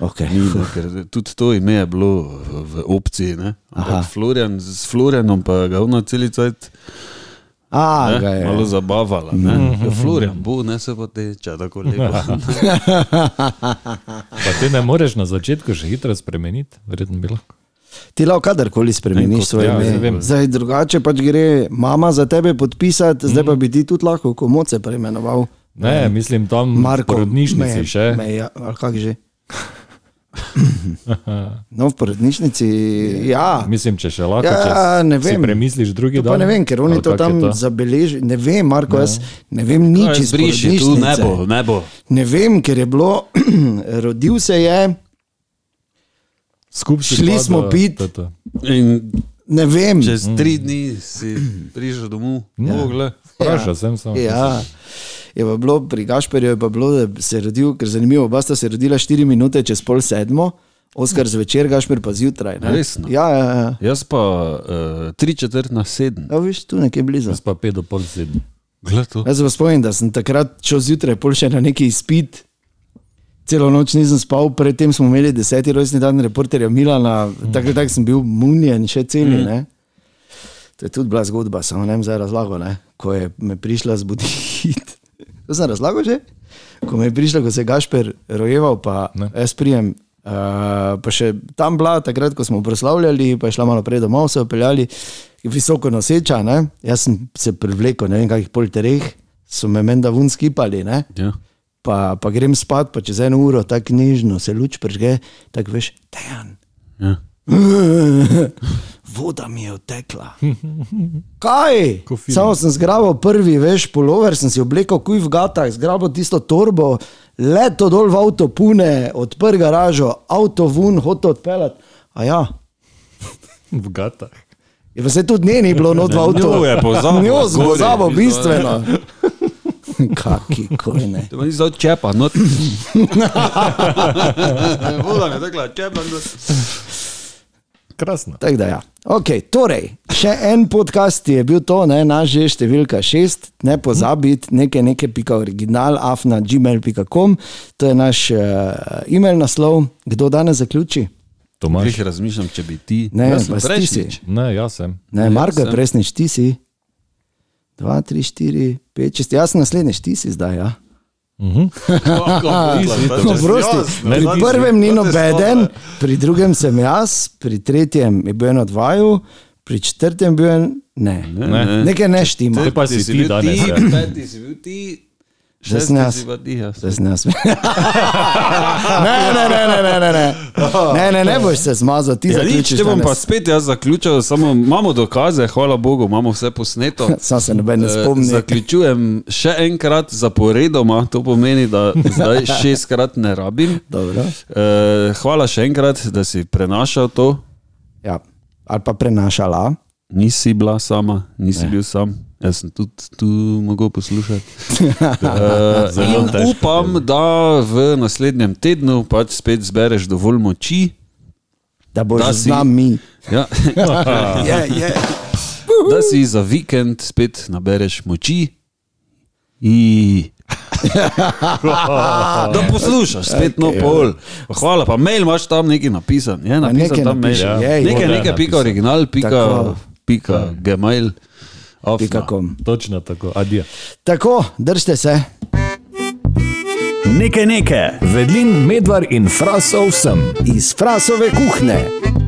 [SPEAKER 3] okay.
[SPEAKER 4] ni, ne, ker tudi to ime je bilo eh, v opciji, ne.
[SPEAKER 3] Aha.
[SPEAKER 4] Ampak Florian, s Florianom pa ga je ona celi cajt
[SPEAKER 3] A,
[SPEAKER 2] Eh,
[SPEAKER 3] ga
[SPEAKER 4] ne,
[SPEAKER 3] je. Mhm.
[SPEAKER 4] malo zabavala, ne. Ja, Florian bo, ne se pa teče, tako (laughs) lepo.
[SPEAKER 2] Pa ti ne moreš na začetku še hitro spremeniti, verjetno bi lahko.
[SPEAKER 3] Ti lahko kadarkoli spremeniš svoje
[SPEAKER 2] ja,
[SPEAKER 3] ime.
[SPEAKER 2] zdaj vem.
[SPEAKER 3] zdaj, drugače pač gre mama za tebe podpisati, zdaj
[SPEAKER 2] Mhm.
[SPEAKER 3] pa bi ti tudi lahko komoce preimenoval.
[SPEAKER 2] Ne, mislim tam
[SPEAKER 3] Marko,
[SPEAKER 2] v Mhm. porodnišnici
[SPEAKER 3] me-
[SPEAKER 2] še.
[SPEAKER 3] Me, ja, ali kako že? No, v porodnišnici, ja.
[SPEAKER 2] Mislim, če še lahko.
[SPEAKER 3] Ja,
[SPEAKER 2] če
[SPEAKER 3] ne
[SPEAKER 2] si
[SPEAKER 3] vem.
[SPEAKER 2] premisliš drugi
[SPEAKER 3] To pa
[SPEAKER 2] dan.
[SPEAKER 3] ne vem, ker oni
[SPEAKER 2] ali
[SPEAKER 3] to
[SPEAKER 2] kako je
[SPEAKER 3] tam
[SPEAKER 2] to? No,
[SPEAKER 3] zabeležijo. Ne vem, Marko, jaz ne vem nič iz
[SPEAKER 4] Zbriši tu ne
[SPEAKER 3] porodnišnice.
[SPEAKER 4] bo, ne bo.
[SPEAKER 3] Ne vem, ker je bilo, (clears throat) rodil se je,
[SPEAKER 2] Skupaj si
[SPEAKER 3] Šli
[SPEAKER 2] padel,
[SPEAKER 3] smo pit.
[SPEAKER 2] to
[SPEAKER 3] Ja.
[SPEAKER 2] je to.
[SPEAKER 4] In
[SPEAKER 3] ne vem.
[SPEAKER 4] čez tri dni si prišel domov, No, mogle.
[SPEAKER 2] Vprašal sem samo.
[SPEAKER 3] Ja. Je pa bilo pri Gašperju, je pa bilo, da se je rodil, ker zanimivo, oba sta se rodila 4 minute čez pol sedmo, Oskar zvečer, Gašper pa zjutraj. ne.
[SPEAKER 4] Resno?
[SPEAKER 3] Ja, ja, ja.
[SPEAKER 4] Jaz pa uh, tri četrt na sedem.
[SPEAKER 3] ja, viš tu nekje blizu.
[SPEAKER 2] Jaz pa pet do pol sedem.
[SPEAKER 4] Glej to.
[SPEAKER 3] Jaz se pa spomnim, da sem takrat šel zjutraj, pol še na neki izpit. Celo noč nisem spal, predtem smo imeli deseti rojstni dan reporterja Milana, tako ali tako sem bil munjen, še celi. Ne? To je tudi bila zgodba, samo ne vem zdaj razlago, ne? ko je me prišla zbuditi. (laughs) To sem razlagal že? Ko me je prišla, ko se je Gašper rojeval, pa
[SPEAKER 2] Ne.
[SPEAKER 3] jaz prijem. Uh, pa še tam bila, takrat, ko smo proslavljali, pa je šla malo prej domov, se opeljali, visoko noseča. Ne? Jaz sem se privlekel, ne vem, kakih pol tereh, so me menda vun skipali. Ne?
[SPEAKER 4] Ja.
[SPEAKER 3] pa, pa grem spat, pa čez eno uro tako nežno se luč prežge, tako veš, dejan.
[SPEAKER 4] Ja.
[SPEAKER 3] (laughs) Voda mi je odtekla. Kaj?
[SPEAKER 2] Ko film.
[SPEAKER 3] Samo sem zgrabil prvi, veš, polover, sem si oblekel kuj v gatah, zgrabil tisto torbo, leto dol v avto pune, odprl garažo, avto vun, hotel odpeljati. A ja,
[SPEAKER 2] v gatah.
[SPEAKER 3] je pa se tudi nje ni bilo not v
[SPEAKER 1] (laughs)
[SPEAKER 3] avtu.
[SPEAKER 1] njo
[SPEAKER 3] (laughs)
[SPEAKER 1] je pozabil,
[SPEAKER 3] Njo
[SPEAKER 1] gori. ja.
[SPEAKER 3] smo pozabo, bistveno. (laughs) Kaki kojne.
[SPEAKER 4] To ni zdaj čepa,
[SPEAKER 3] (laughs)
[SPEAKER 4] no. Voda mi je rekla, čepa, no.
[SPEAKER 2] Krasno.
[SPEAKER 3] Tako da ja. Okay, torej, še en podcast je bil to, ne, naš že številka šest, ne pozabiti, nekaj, nekaj, pika original, afna, gmail.com, to je naš uh, e-mail naslov. Kdo danes zaključi?
[SPEAKER 2] Tomaš.
[SPEAKER 4] Že razmišljam, če bi ti.
[SPEAKER 3] Ne,
[SPEAKER 4] Jaz sem
[SPEAKER 3] pa si ti si.
[SPEAKER 4] prejšnjič.
[SPEAKER 2] Ne, jaz Ja, sem.
[SPEAKER 3] Ne,
[SPEAKER 4] Ne,
[SPEAKER 3] Marko,
[SPEAKER 4] sem.
[SPEAKER 3] resnič ti si. 2, 3, 4, 5, 6, jaz sem naslednjič, ti si zdaj. Ja. Prosti,
[SPEAKER 2] ne,
[SPEAKER 3] pri
[SPEAKER 2] ti si.
[SPEAKER 3] prvem ni noben, pri drugem sem jaz, pri tretjem je bil en od vaju, pri četrtem je bil en. Ne.
[SPEAKER 2] Ne.
[SPEAKER 3] Nekaj ne štima.
[SPEAKER 2] Te pa si ti danes, ja.
[SPEAKER 4] Peti si bil ti.
[SPEAKER 3] Zdaj sem jaz.
[SPEAKER 4] šesti si pa ti, ja. jaz.
[SPEAKER 3] Zdaj sem jaz. (laughs) ne, ne, ne, ne, ne, ne, ne. Ne, ne, ne boš se zmazal, ti
[SPEAKER 4] Ja, nič,
[SPEAKER 3] zaključiš.
[SPEAKER 4] če bom pa
[SPEAKER 3] danes.
[SPEAKER 4] spet jaz zaključil, samo imamo dokaze, hvala Bogu, imamo vse
[SPEAKER 3] (laughs)
[SPEAKER 4] posneto.
[SPEAKER 3] Sam se noben ne
[SPEAKER 4] Eh,
[SPEAKER 3] spomni.
[SPEAKER 4] Zaključujem še enkrat zaporedoma, to pomeni, da
[SPEAKER 3] (laughs)
[SPEAKER 4] zdaj šestkrat ne rabim.
[SPEAKER 3] Dobro.
[SPEAKER 4] Eh, Hvala še enkrat, da si prenašal to.
[SPEAKER 3] Ja. Ali pa prenašala.
[SPEAKER 4] Nisi bila sama, nisi ne. bil sam. Jaz sem tudi tu mogel
[SPEAKER 2] (laughs)
[SPEAKER 4] poslušati. Uh,
[SPEAKER 2] Zelo težko
[SPEAKER 4] upam, da v naslednjem tednu pač spet zbereš dovolj moči,
[SPEAKER 3] Da boš da
[SPEAKER 4] Da si-
[SPEAKER 3] z nami. (laughs)
[SPEAKER 4] ja,
[SPEAKER 3] Je, je.
[SPEAKER 4] da si za vikend spet nabereš moči.
[SPEAKER 3] (laughs)
[SPEAKER 4] I. da poslušaš, spet no
[SPEAKER 3] ja.
[SPEAKER 4] pol. Pa Hvala, pa mail imaš tam neki napisan. Je napisan
[SPEAKER 3] nekaj
[SPEAKER 4] tam mail.
[SPEAKER 3] napiši,
[SPEAKER 4] Ja.
[SPEAKER 3] jej.
[SPEAKER 4] Nekaj,
[SPEAKER 2] Morda je
[SPEAKER 4] nekaj, pika
[SPEAKER 2] napisan.
[SPEAKER 4] original, pika,
[SPEAKER 3] Tako.
[SPEAKER 4] pika gmail. no. afna.
[SPEAKER 3] Ja. Pika kom.
[SPEAKER 2] Točno tako, adijo.
[SPEAKER 3] Tako, držite se.
[SPEAKER 1] Nekaj, nekaj.
[SPEAKER 5] Vedlin, Medvar in Frasov sem.
[SPEAKER 3] Iz frasove kuhne.